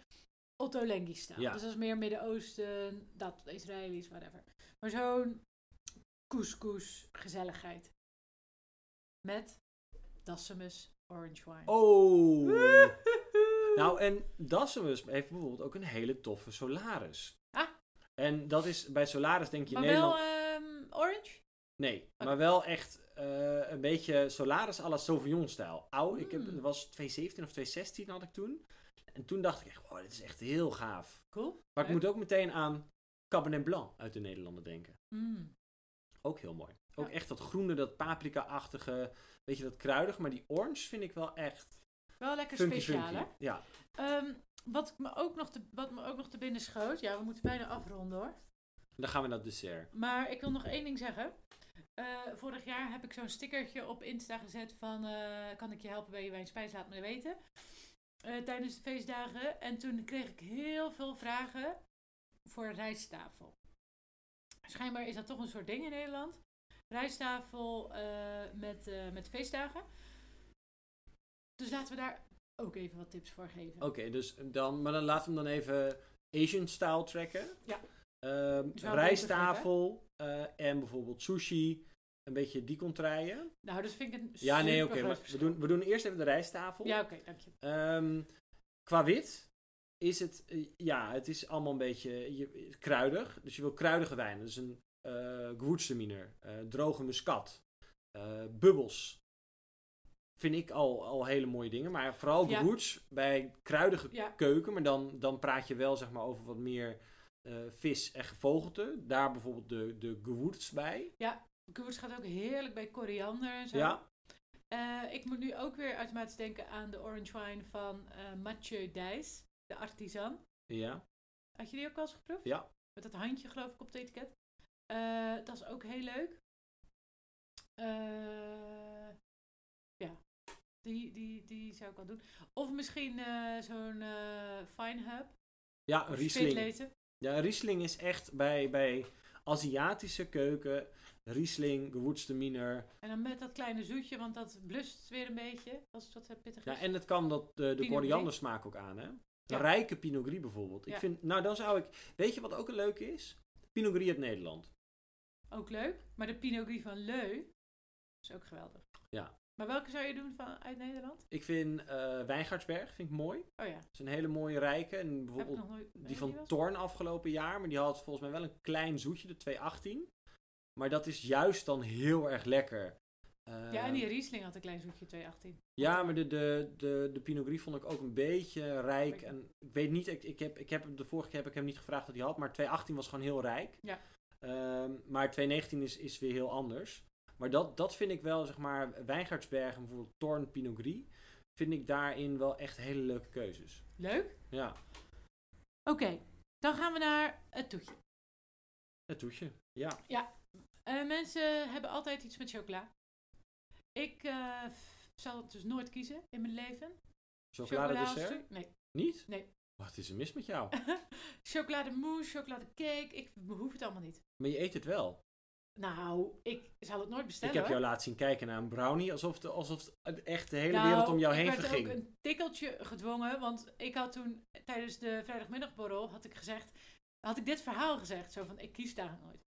Otto Lengi staan.
Ja.
Dus dat is meer Midden-Oosten, dat, Israëli's, whatever. Maar zo'n couscous gezelligheid. Met dassemus orange wine.
Oh!
Woehoehoe.
Nou, en Dassemus heeft bijvoorbeeld ook een hele toffe Solaris.
Ah.
En dat is, bij Solaris denk je
maar
Nederland...
wel ehm, orange?
Nee, maar wel echt eh, een beetje Solaris à la Sauvignon-stijl. Oud, ik heb,
Mm.
het was 217 of 216 had ik toen. En toen dacht ik echt, wow, dit is echt heel gaaf.
Cool.
Maar ik
Leuk.
moet ook meteen aan Cabernet Blanc uit de Nederlanden denken.
Mm.
Ook heel mooi. Ook
Ja.
echt dat groene, dat paprika-achtige, weet je, dat kruidig. Maar die orange vind ik wel echt
Wel lekker
funky,
speciaal, hè?
funky. Ja.
Ehm, wat, me ook nog te, wat me ook nog te binnen schoot. Ja, we moeten bijna afronden hoor.
Dan gaan we naar het dessert.
Maar ik wil nog één ding zeggen. Eh, vorig jaar heb ik zo'n stickertje op Insta gezet van... eh, kan ik je helpen bij je wijnspijs? Laat me weten. Eh, tijdens de feestdagen. En toen kreeg ik heel veel vragen voor rijsttafel. Schijnbaar is dat toch een soort ding in Nederland. Rijsttafel eh, met, eh, met feestdagen. Dus laten we daar ook even wat tips voor geven.
Oké, dus dan, maar dan laten we hem dan even Asian style trekken.
Ja.
Ehm,
Is wel een
rijsttafel eh, en bijvoorbeeld sushi. Een beetje die contraien.
Nou, dus vind ik een
Ja, nee,
supergroot
oké. maar we
verschil.
doen, we doen eerst even de rijsttafel.
Ja, oké, dank je.
Ehm, qua wit is het, eh, ja, het is allemaal een beetje je, kruidig. Dus je wil kruidige wijn. Dus een eh gewoedseminer, droge muscat, eh, bubbels. Vind ik al, al hele mooie dingen. Maar vooral
Ja.
gewoeds bij kruidige
Ja.
keuken. Maar dan, dan praat je wel zeg maar, over wat meer eh, vis en gevogelte. Daar bijvoorbeeld de, de gewoeds bij.
Koers gaat ook heerlijk bij koriander en zo.
Ja.
Eh, ik moet nu ook weer automatisch denken aan de orange wine van eh, Mathieu Dijs, de artisan.
Ja.
Had je die ook al eens geproefd?
Ja.
Met dat handje geloof ik op het etiket. Eh, dat is ook heel leuk. Eh, ja, die, die, die zou ik wel doen. Of misschien eh, zo'n eh Fine Hub.
Ja, een Riesling.
Spätlese.
Ja, Riesling is echt bij, bij Aziatische keuken. Riesling, Gewürztraminer.
En dan met dat kleine zoetje, want dat blust weer een beetje. Als het wat eh, pittig
Ja,
is.
en het kan dat, eh, de
Gris.
koriandersmaak ook aan, hè? Een
Ja.
rijke Pinot Gris bijvoorbeeld. Ik
Ja.
vind, nou, dan zou ik... Weet je wat ook een leuk is? Pinot Gris uit Nederland.
Ook leuk. Maar de Pinot Gris van Leu is ook geweldig.
Ja.
Maar welke zou je doen van, uit Nederland?
Ik vind eh Wijngaardsberg vind ik mooi. Dat
Oh ja,
is een hele mooie rijke. En
heb ik
bijvoorbeeld
nog nooit. weet
die
je
van
wel?
Torn afgelopen jaar. Maar die had volgens mij wel een klein zoetje, de 218. Maar dat is juist dan heel erg lekker. Eh,
Ja, en die Riesling had een klein zoetje 218.
Ja, maar de, de, de, de Pinot Gris vond ik ook een beetje rijk.
Oké.
En ik weet niet, ik, ik heb, ik heb, hem- de vorige keer heb ik hem niet gevraagd wat hij had, maar 218 was gewoon heel rijk.
Ja.
Ehm, maar 219 is, is weer heel anders. Maar dat, dat vind ik wel, zeg maar, Wijngaardsberg en bijvoorbeeld Torn Pinot Gris, vind ik daarin wel echt hele leuke keuzes.
Leuk.
Ja,
Oké, dan gaan we naar het toetje.
het toetje. Ja.
Eh, mensen hebben altijd iets met chocola. Ik eh, f- zal het dus nooit kiezen in mijn leven.
Chocolade
Chocola als
dessert?
toe- Nee.
Niet?
Nee.
Wat is er mis met jou?
chocolade mousse, chocolade cake. Ik behoef het allemaal niet.
maar je eet het wel.
Nou, ik zal het nooit bestellen.
ik heb
hoor.
jou laten zien kijken naar een brownie, alsof, de, alsof het echt de hele
Nou,
wereld om jou
ik
heen
werd
verging.
ook een tikkeltje gedwongen, want ik had toen tijdens de vrijdagmiddagborrel had ik gezegd, had ik dit verhaal gezegd, zo van ik kies daar nooit. En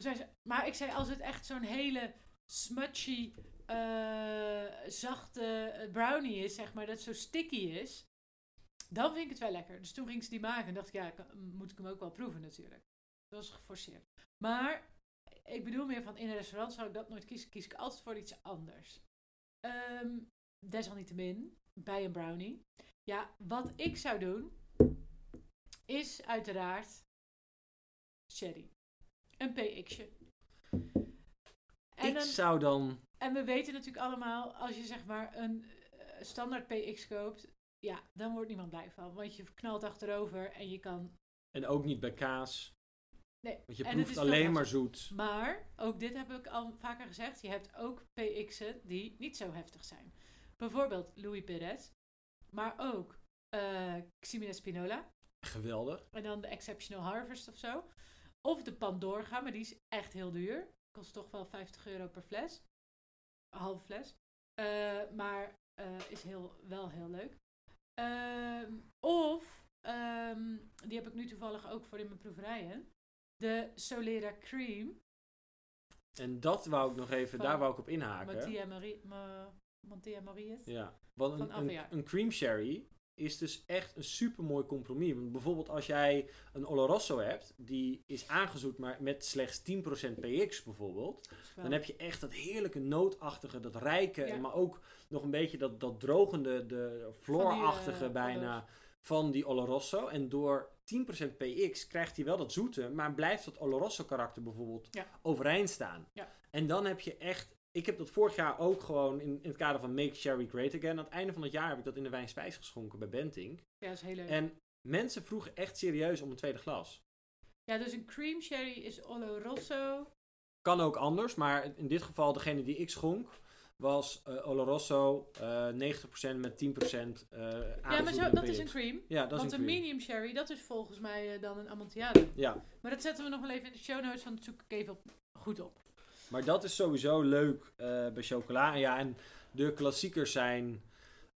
toen zei ze, maar ik zei als het echt zo'n hele smudgy, eh, zachte brownie is, zeg maar, dat zo sticky is, dan vind ik het wel lekker. Dus toen ging ze die maken en dacht ik, ja, kan- moet ik hem ook wel proeven natuurlijk. Dat was geforceerd. Maar ik bedoel meer van in een restaurant zou ik dat nooit kiezen, kies ik altijd voor iets anders. Ehm, desalniettemin, bij een brownie. Ja, wat ik zou doen, is uiteraard sherry. Een PX'je. En,
ik
dan,
zou dan
en we weten natuurlijk allemaal, als je zeg maar een eh, standaard PX koopt, ja, dan wordt niemand blij van. Want je knalt achterover en je kan
En ook niet bij kaas.
Nee,
Want je
en het
proeft
is
alleen
veel
maar zoet.
Maar, ook dit heb ik al vaker gezegd, je hebt ook PX'en die niet zo heftig zijn. Bijvoorbeeld Louis Perez, maar ook eh Ximena Spinola
Geweldig.
en dan de Exceptional Harvest of zo. Of de Pandorga, maar die is echt heel duur. Kost toch wel 50 euro per fles. Een halve fles. Eh, maar eh, is heel, wel heel leuk. Ehm, of, ehm, die heb ik nu toevallig ook voor in mijn proeverijen. De Solera Cream.
En dat wou ik nog even,
Van
daar wou ik op inhaken.
Mattia Marie, Ma, Mattia Marie is.
Ja. Want
Van
een, een,
Aviaar.
een cream sherry is dus echt een super mooi compromis. Want bijvoorbeeld als jij een Oloroso hebt, die is aangezoet maar met slechts 10% PX bijvoorbeeld. Dan heb je echt dat heerlijke nootachtige, dat rijke,
Ja.
maar ook nog een beetje dat, dat drogende, de floorachtige
Van die, eh,
bijna van die Oloroso. En door 10% PX krijgt hij wel dat zoete, maar blijft dat Oloroso karakter bijvoorbeeld
Ja.
overeind staan.
Ja.
En dan heb je echt, ik heb dat vorig jaar ook gewoon in, in het kader van Make Sherry Great Again. Aan het einde van het jaar heb ik dat in de wijn spijs geschonken bij Benting.
ja, dat is heel leuk.
En mensen vroegen echt serieus om een tweede glas.
ja, dus een cream sherry is
Ah,
Oloroso.
Kan ook anders, maar in dit geval degene die ik schonk was eh, Oloroso eh 90% met 10% eh
Ja, maar zo,
aangezoete
dat is
PX.
een cream.
Ja, dat
Want
is
een,
een cream.
medium sherry, dat is volgens mij eh, dan een Amontillado.
Ja.
Maar dat zetten we nog wel even in de show notes, want dat zoek ik even op, goed op.
Maar dat is sowieso leuk eh, bij chocola. En ja, en de klassiekers zijn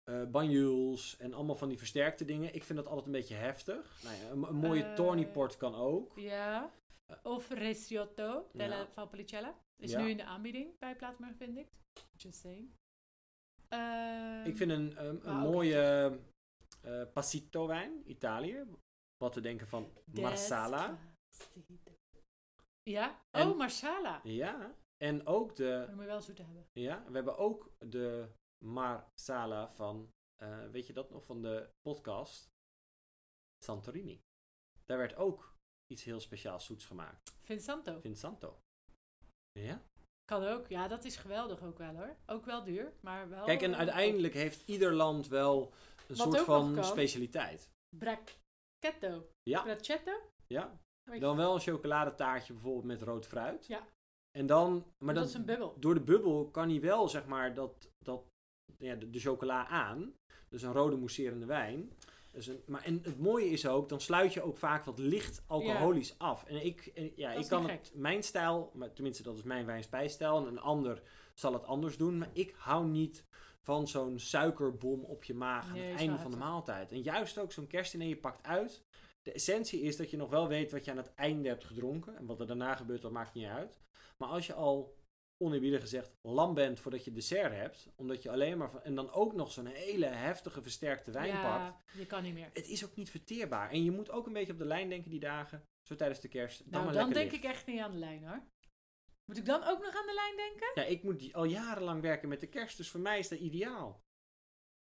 eh banjules en allemaal van die versterkte dingen. Ik vind dat altijd een beetje heftig. Nou ja, een, een mooie
Eh.
tawny port kan ook.
Ja. Of Resiotto della
Eh. Ja.
Valpolicella. Is
Ja.
nu in de aanbieding bij Plaatsburg, vind ik. Just saying. Ehm,
Ik vind een, een, een
maar ook
mooie eh passito wijn, Italië. Wat we denken van Marsala.
Despacito. Ja?
En-
oh, Marsala.
Ja, en ook de,
Dan moet je wel zoet hebben.
ja, we hebben ook de Marsala van, eh, weet je dat nog, van de podcast Santorini. Daar werd ook iets heel speciaals zoets gemaakt.
Vinsanto.
Vinsanto. Ja?
Kan ook. Ja, dat is geweldig ook wel hoor. Ook wel duur, maar wel... eh,
Kijk, en uiteindelijk heeft ieder land wel een
Oh, Wat
soort
ook nog
van
kan.
specialiteit.
Bracchetto.
Ja.
Bracchetto?
Ja.
Weet
Dan wel een chocoladetaartje bijvoorbeeld met rood fruit.
Ja.
En dan, maar
Maar dat,
dat,
is een bubbel.
door de bubbel kan hij wel zeg maar dat, dat ja, de, de chocola aan. Dus een rode mousserende wijn. Dus een, maar en het mooie is ook, dan sluit je ook vaak wat licht alcoholisch af. En ik, en, ja,
is
ik kan
niet
het, mijn stijl, maar tenminste dat is mijn wijnspijstijl. En een ander zal het anders doen. Maar ik hou niet van zo'n suikerbom op je maag aan
Nee,
het
is
einde
wel
van de
heftig.
maaltijd. En juist ook zo'n kerstdiner, je pakt uit. De essentie is dat je nog wel weet wat je aan het einde hebt gedronken. En wat er daarna gebeurt, dat maakt niet uit. Maar als je al oneerbiedig gezegd lam bent voordat je dessert hebt, omdat je alleen maar van, en dan ook nog zo'n hele heftige versterkte wijn pakt.
Ja, je kan niet meer.
Het is ook niet verteerbaar. En je moet ook een beetje op de lijn denken die dagen, zo tijdens de kerst. Dan
Nou,
maar
dan
lekker
denk ik echt niet aan de lijn hoor. Moet ik dan ook nog aan de lijn denken?
ik... Ja, ik moet die- al jarenlang werken met de kerst, dus voor mij is dat ideaal.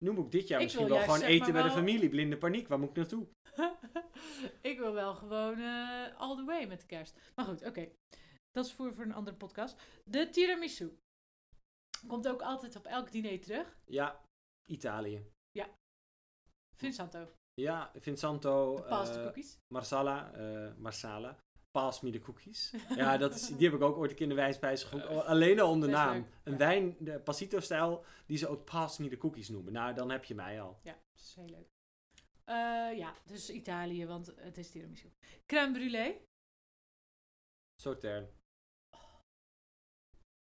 Nu moet ik dit jaar
Ik
misschien
wil
wel
juist,
gewoon
zeg
eten
maar,
bij de
wel-
familie. Blinde paniek, waar moet ik naartoe?
ik wil wel gewoon eh, all the way met de kerst. Maar goed, oké. Dat is voor, voor een andere podcast. De tiramisu. Komt ook altijd op elk diner terug.
Ja, Italië.
Vinsanto.
Ja, Vinsanto,
De pasta
eh,
cookies.
Marsala, eh, Marsala. Pass me de cookies. Ja, dat is, die heb ik ook ooit een keer in de wijnspijs gegooid. Alleen al om de
Eh, Best
naam.
leuk,
Een
ja.
wijn, de Passito-stijl, die ze ook Pass me de cookies noemen. Nou, dan heb je mij al.
Ja, dat is heel leuk. Eh, ja, dus Italië, want het is tiramisu. Crème brûlée.
Sautern.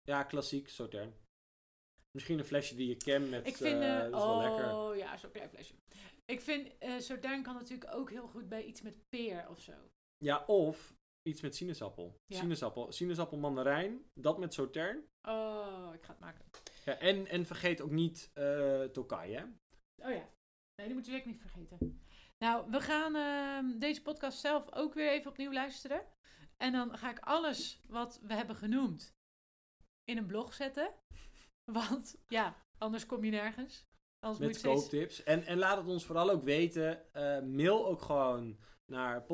Ja, klassiek Sautern. Misschien een flesje die je kent met...
Ik vind...
eh,
eh,
dat is wel lekker.
oh, ja, zo'n klein flesje. Ik vind, eh Sardijn kan natuurlijk ook heel goed bij iets met peer of zo.
Ja, of iets met sinaasappel.
Ja.
Sinaasappel, sinaasappel mandarijn, dat met Sautern.
Oh, ik ga het maken.
Ja, en, en vergeet ook niet eh Tokai, hè?
Oh ja. Nee, die moeten we ook niet vergeten. Nou, we gaan ehm, deze podcast zelf ook weer even opnieuw luisteren. En dan ga ik alles wat we hebben genoemd in een blog zetten. Want ja, anders kom je nergens. Anders moet
Met
je steeds...
kooptips. En, en laat het ons vooral ook weten. Eh, mail ook gewoon naar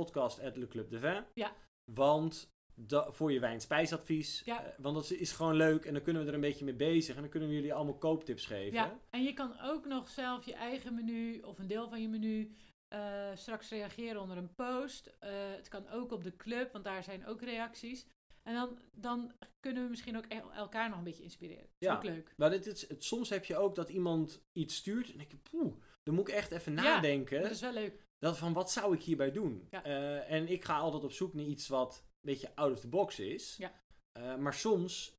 podcast.leclubdevin.
Ja.
Want da- voor je wijnspijsadvies.
Ja.
Eh, want dat is- is gewoon leuk en dan kunnen we er een beetje mee bezig. En dan kunnen we jullie allemaal kooptips geven.
Ja, en je kan ook nog zelf je eigen menu of een deel van je menu eh, straks reageren onder een post. Eh, het kan ook op de club, want daar zijn ook reacties. En dan, dan kunnen we misschien ook el- elkaar nog een beetje inspireren. Dat is
Ja.
ook leuk.
Maar dit is, het, soms heb je ook dat iemand iets stuurt. En dan denk je, poeh, dan moet ik echt even
Ja,
nadenken.
Dat is wel leuk.
dat van, wat zou ik hierbij doen?
Ja.
Eh, en ik ga altijd op zoek naar iets wat een beetje out of the box is.
Ja.
Eh, maar soms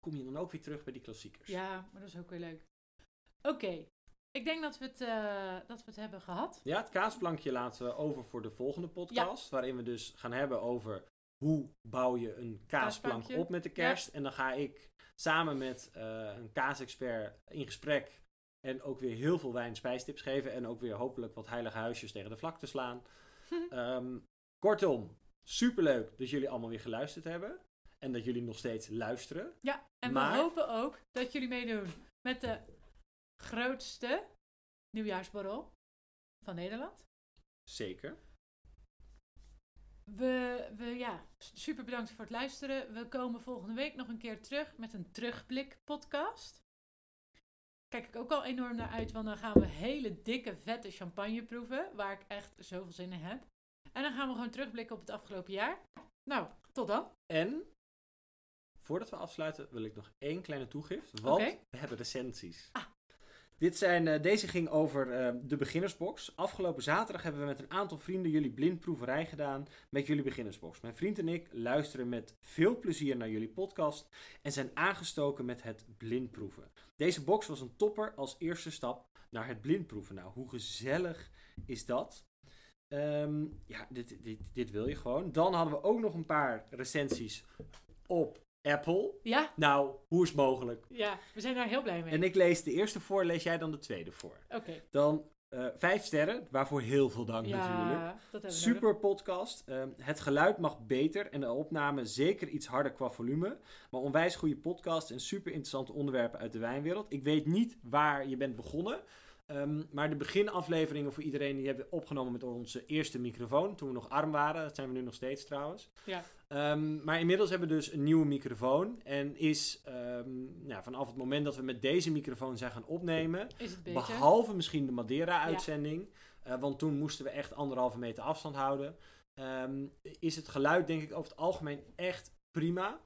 kom je dan ook weer terug bij die klassiekers.
Ja, maar dat is ook weer leuk. Oké, ik denk dat we, het, eh, dat we het hebben gehad.
Ja, het kaasplankje laten we over voor de volgende podcast. Waarin we dus gaan hebben over hoe bouw je een kaasplank
Kaasplankje.
op met de kerst. En dan ga ik samen met eh, een kaasexpert in gesprek. En ook weer heel veel wijn spijstips geven. En ook weer hopelijk wat heilige huisjes tegen de vlakte slaan. Ehm, kortom, superleuk dat jullie allemaal weer geluisterd hebben. En dat jullie nog steeds luisteren.
Ja, en
Maar-
we hopen ook dat jullie meedoen met de grootste nieuwjaarsborrel van Nederland.
Zeker.
We, we, ja, super bedankt voor het luisteren. We komen volgende week nog een keer terug met een terugblik podcast. Kijk ik ook al enorm naar uit, want dan gaan we hele dikke, vette champagne proeven, waar ik echt zoveel zin in heb. En dan gaan we gewoon terugblikken op het afgelopen jaar. Nou, tot dan.
En voordat we afsluiten wil ik nog één kleine toegift. Want
Oké.
we hebben recensies.
Ah.
Dit zijn, eh, deze ging over eh, de beginnersbox. Afgelopen zaterdag hebben we met een aantal vrienden jullie blindproeverij gedaan met jullie beginnersbox. Mijn vriend en ik luisteren met veel plezier naar jullie podcast en zijn aangestoken met het blindproeven. Deze box was een topper als eerste stap naar het blindproeven. Nou, hoe gezellig is dat? Ehm, ja, dit, dit, dit wil je gewoon. Dan hadden we ook nog een paar recensies op Apple.
Ja,
Nou, hoe is het mogelijk?
ja we zijn daar heel blij mee.
En ik lees de eerste voor, lees jij dan de tweede voor.
Oké,
Dan eh, vijf sterren, waarvoor heel veel dank natuurlijk.
ja, dat hebben we nodig.
Super podcast. Ehm, het geluid mag beter en de opname zeker iets harder qua volume. Maar onwijs goede podcast en super interessante onderwerpen uit de wijnwereld. Ik weet niet waar je bent begonnen. Ehm, maar de beginafleveringen voor iedereen die hebben we opgenomen met onze eerste microfoon. Toen we nog arm waren. Dat zijn we nu nog steeds trouwens.
Ja.
Ehm, maar inmiddels hebben we dus een nieuwe microfoon. En is ehm, nou, vanaf het moment dat we met deze microfoon zijn gaan opnemen.
Is het beter?
Behalve misschien de Madeira-uitzending. eh, want toen moesten we echt anderhalve meter afstand houden. Ehm, is het geluid denk ik over het algemeen echt prima.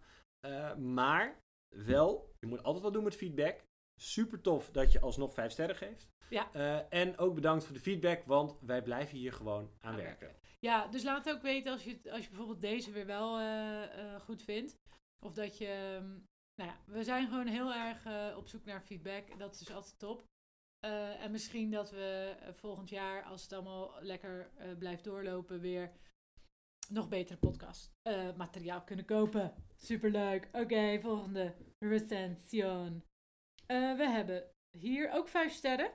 Eh, maar wel, je moet altijd wat doen met feedback. Super tof dat je alsnog vijf sterren geeft.
Ja.
Eh, en ook bedankt voor de feedback, want wij blijven hier gewoon aan
Aan
werken.
Ja, dus laat ook weten als je, het- als je bijvoorbeeld deze weer wel eh, eh, goed vindt. Of dat je... ehm, Nou ja, we zijn gewoon heel erg eh, op zoek naar feedback. Dat is dus altijd top. Eh, en misschien dat we eh, volgend jaar, als het allemaal lekker eh, blijft doorlopen, weer nog betere podcast eh, materiaal kunnen kopen. Superleuk. Oké, volgende recension. Eh, we hebben hier ook vijf sterren.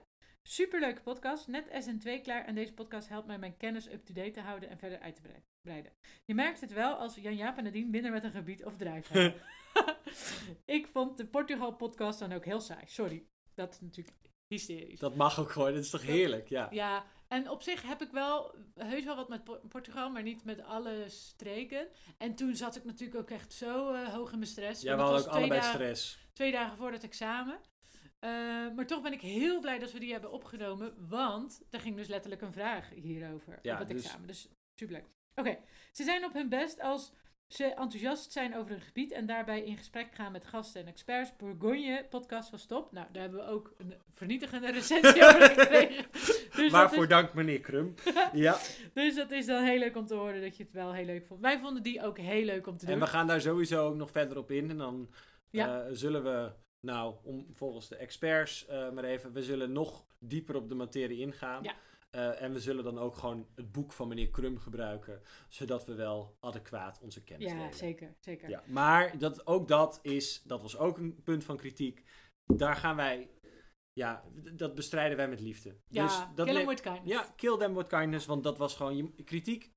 Superleuke podcast, net SN2 klaar en deze podcast helpt mij mijn kennis up-to-date te houden en verder uit te brei- breiden. Je merkt het wel als Jan-Jaap en Nadine minder met een gebied of drijf hebben. Ik vond de Portugal-podcast dan ook heel saai. Sorry, dat is natuurlijk hysterisch.
Dat mag ook gewoon, dat is toch heerlijk? Ja.
Ja, en op zich heb ik wel eh, heus wel wat met Po- Portugal, maar niet met alle streken. En toen zat ik natuurlijk ook echt zo eh, hoog in mijn stress.
Ja, we
want
hadden
het
ook
was
allebei
twee dagen-
stress.
twee dagen voor het examen. Eh, maar toch ben ik heel blij dat we die hebben opgenomen, want er ging dus letterlijk een vraag hierover
Ja,
op het
dus-
examen. Dus superleuk. Oké, ze zijn op hun best als ze enthousiast zijn over een gebied en daarbij in gesprek gaan met gasten en experts. Bourgogne podcast was top. Nou, daar hebben we ook een vernietigende recensie over gekregen. Dus dat
Waarvoor
is-
dank meneer Krum. ja.
dus dat is dan heel leuk om te horen dat je het wel heel leuk vond. Wij vonden die ook heel leuk om te doen.
En we gaan daar sowieso ook nog verder op in. En dan
Ja.
eh, zullen we, nou, om volgens de experts eh, maar even, we zullen nog dieper op de materie ingaan.
Ja.
Eh, en we zullen dan ook gewoon het boek van meneer Krum gebruiken, zodat we wel adequaat onze kennis
ja,
delen.
zeker, zeker.
Ja, maar dat, ook dat is, dat was ook een punt van kritiek. Daar gaan wij, ja, d- dat bestrijden wij met liefde.
Ja,
dus dat
Kill 'em
le-
with kindness.
ja, kill them with kindness, want dat was gewoon, je, kritiek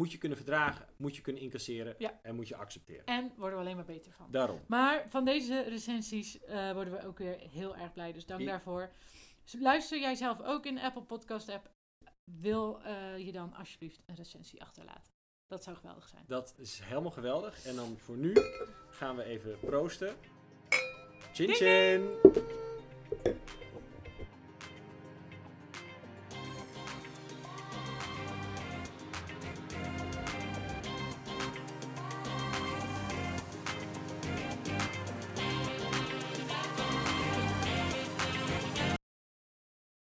moet je kunnen verdragen, moet je kunnen incasseren
Ja.
en moet je accepteren.
En worden we alleen maar beter van.
Daarom.
Maar van deze recensies eh, worden we ook weer heel erg blij. Dus dank
Ja.
daarvoor. Dus Luister jij zelf ook in de Apple Podcast app? Wil eh, je dan alsjeblieft een recensie achterlaten? Dat zou geweldig zijn.
Dat is helemaal geweldig. En dan voor nu gaan we even proosten. Chin
Ding,
chin!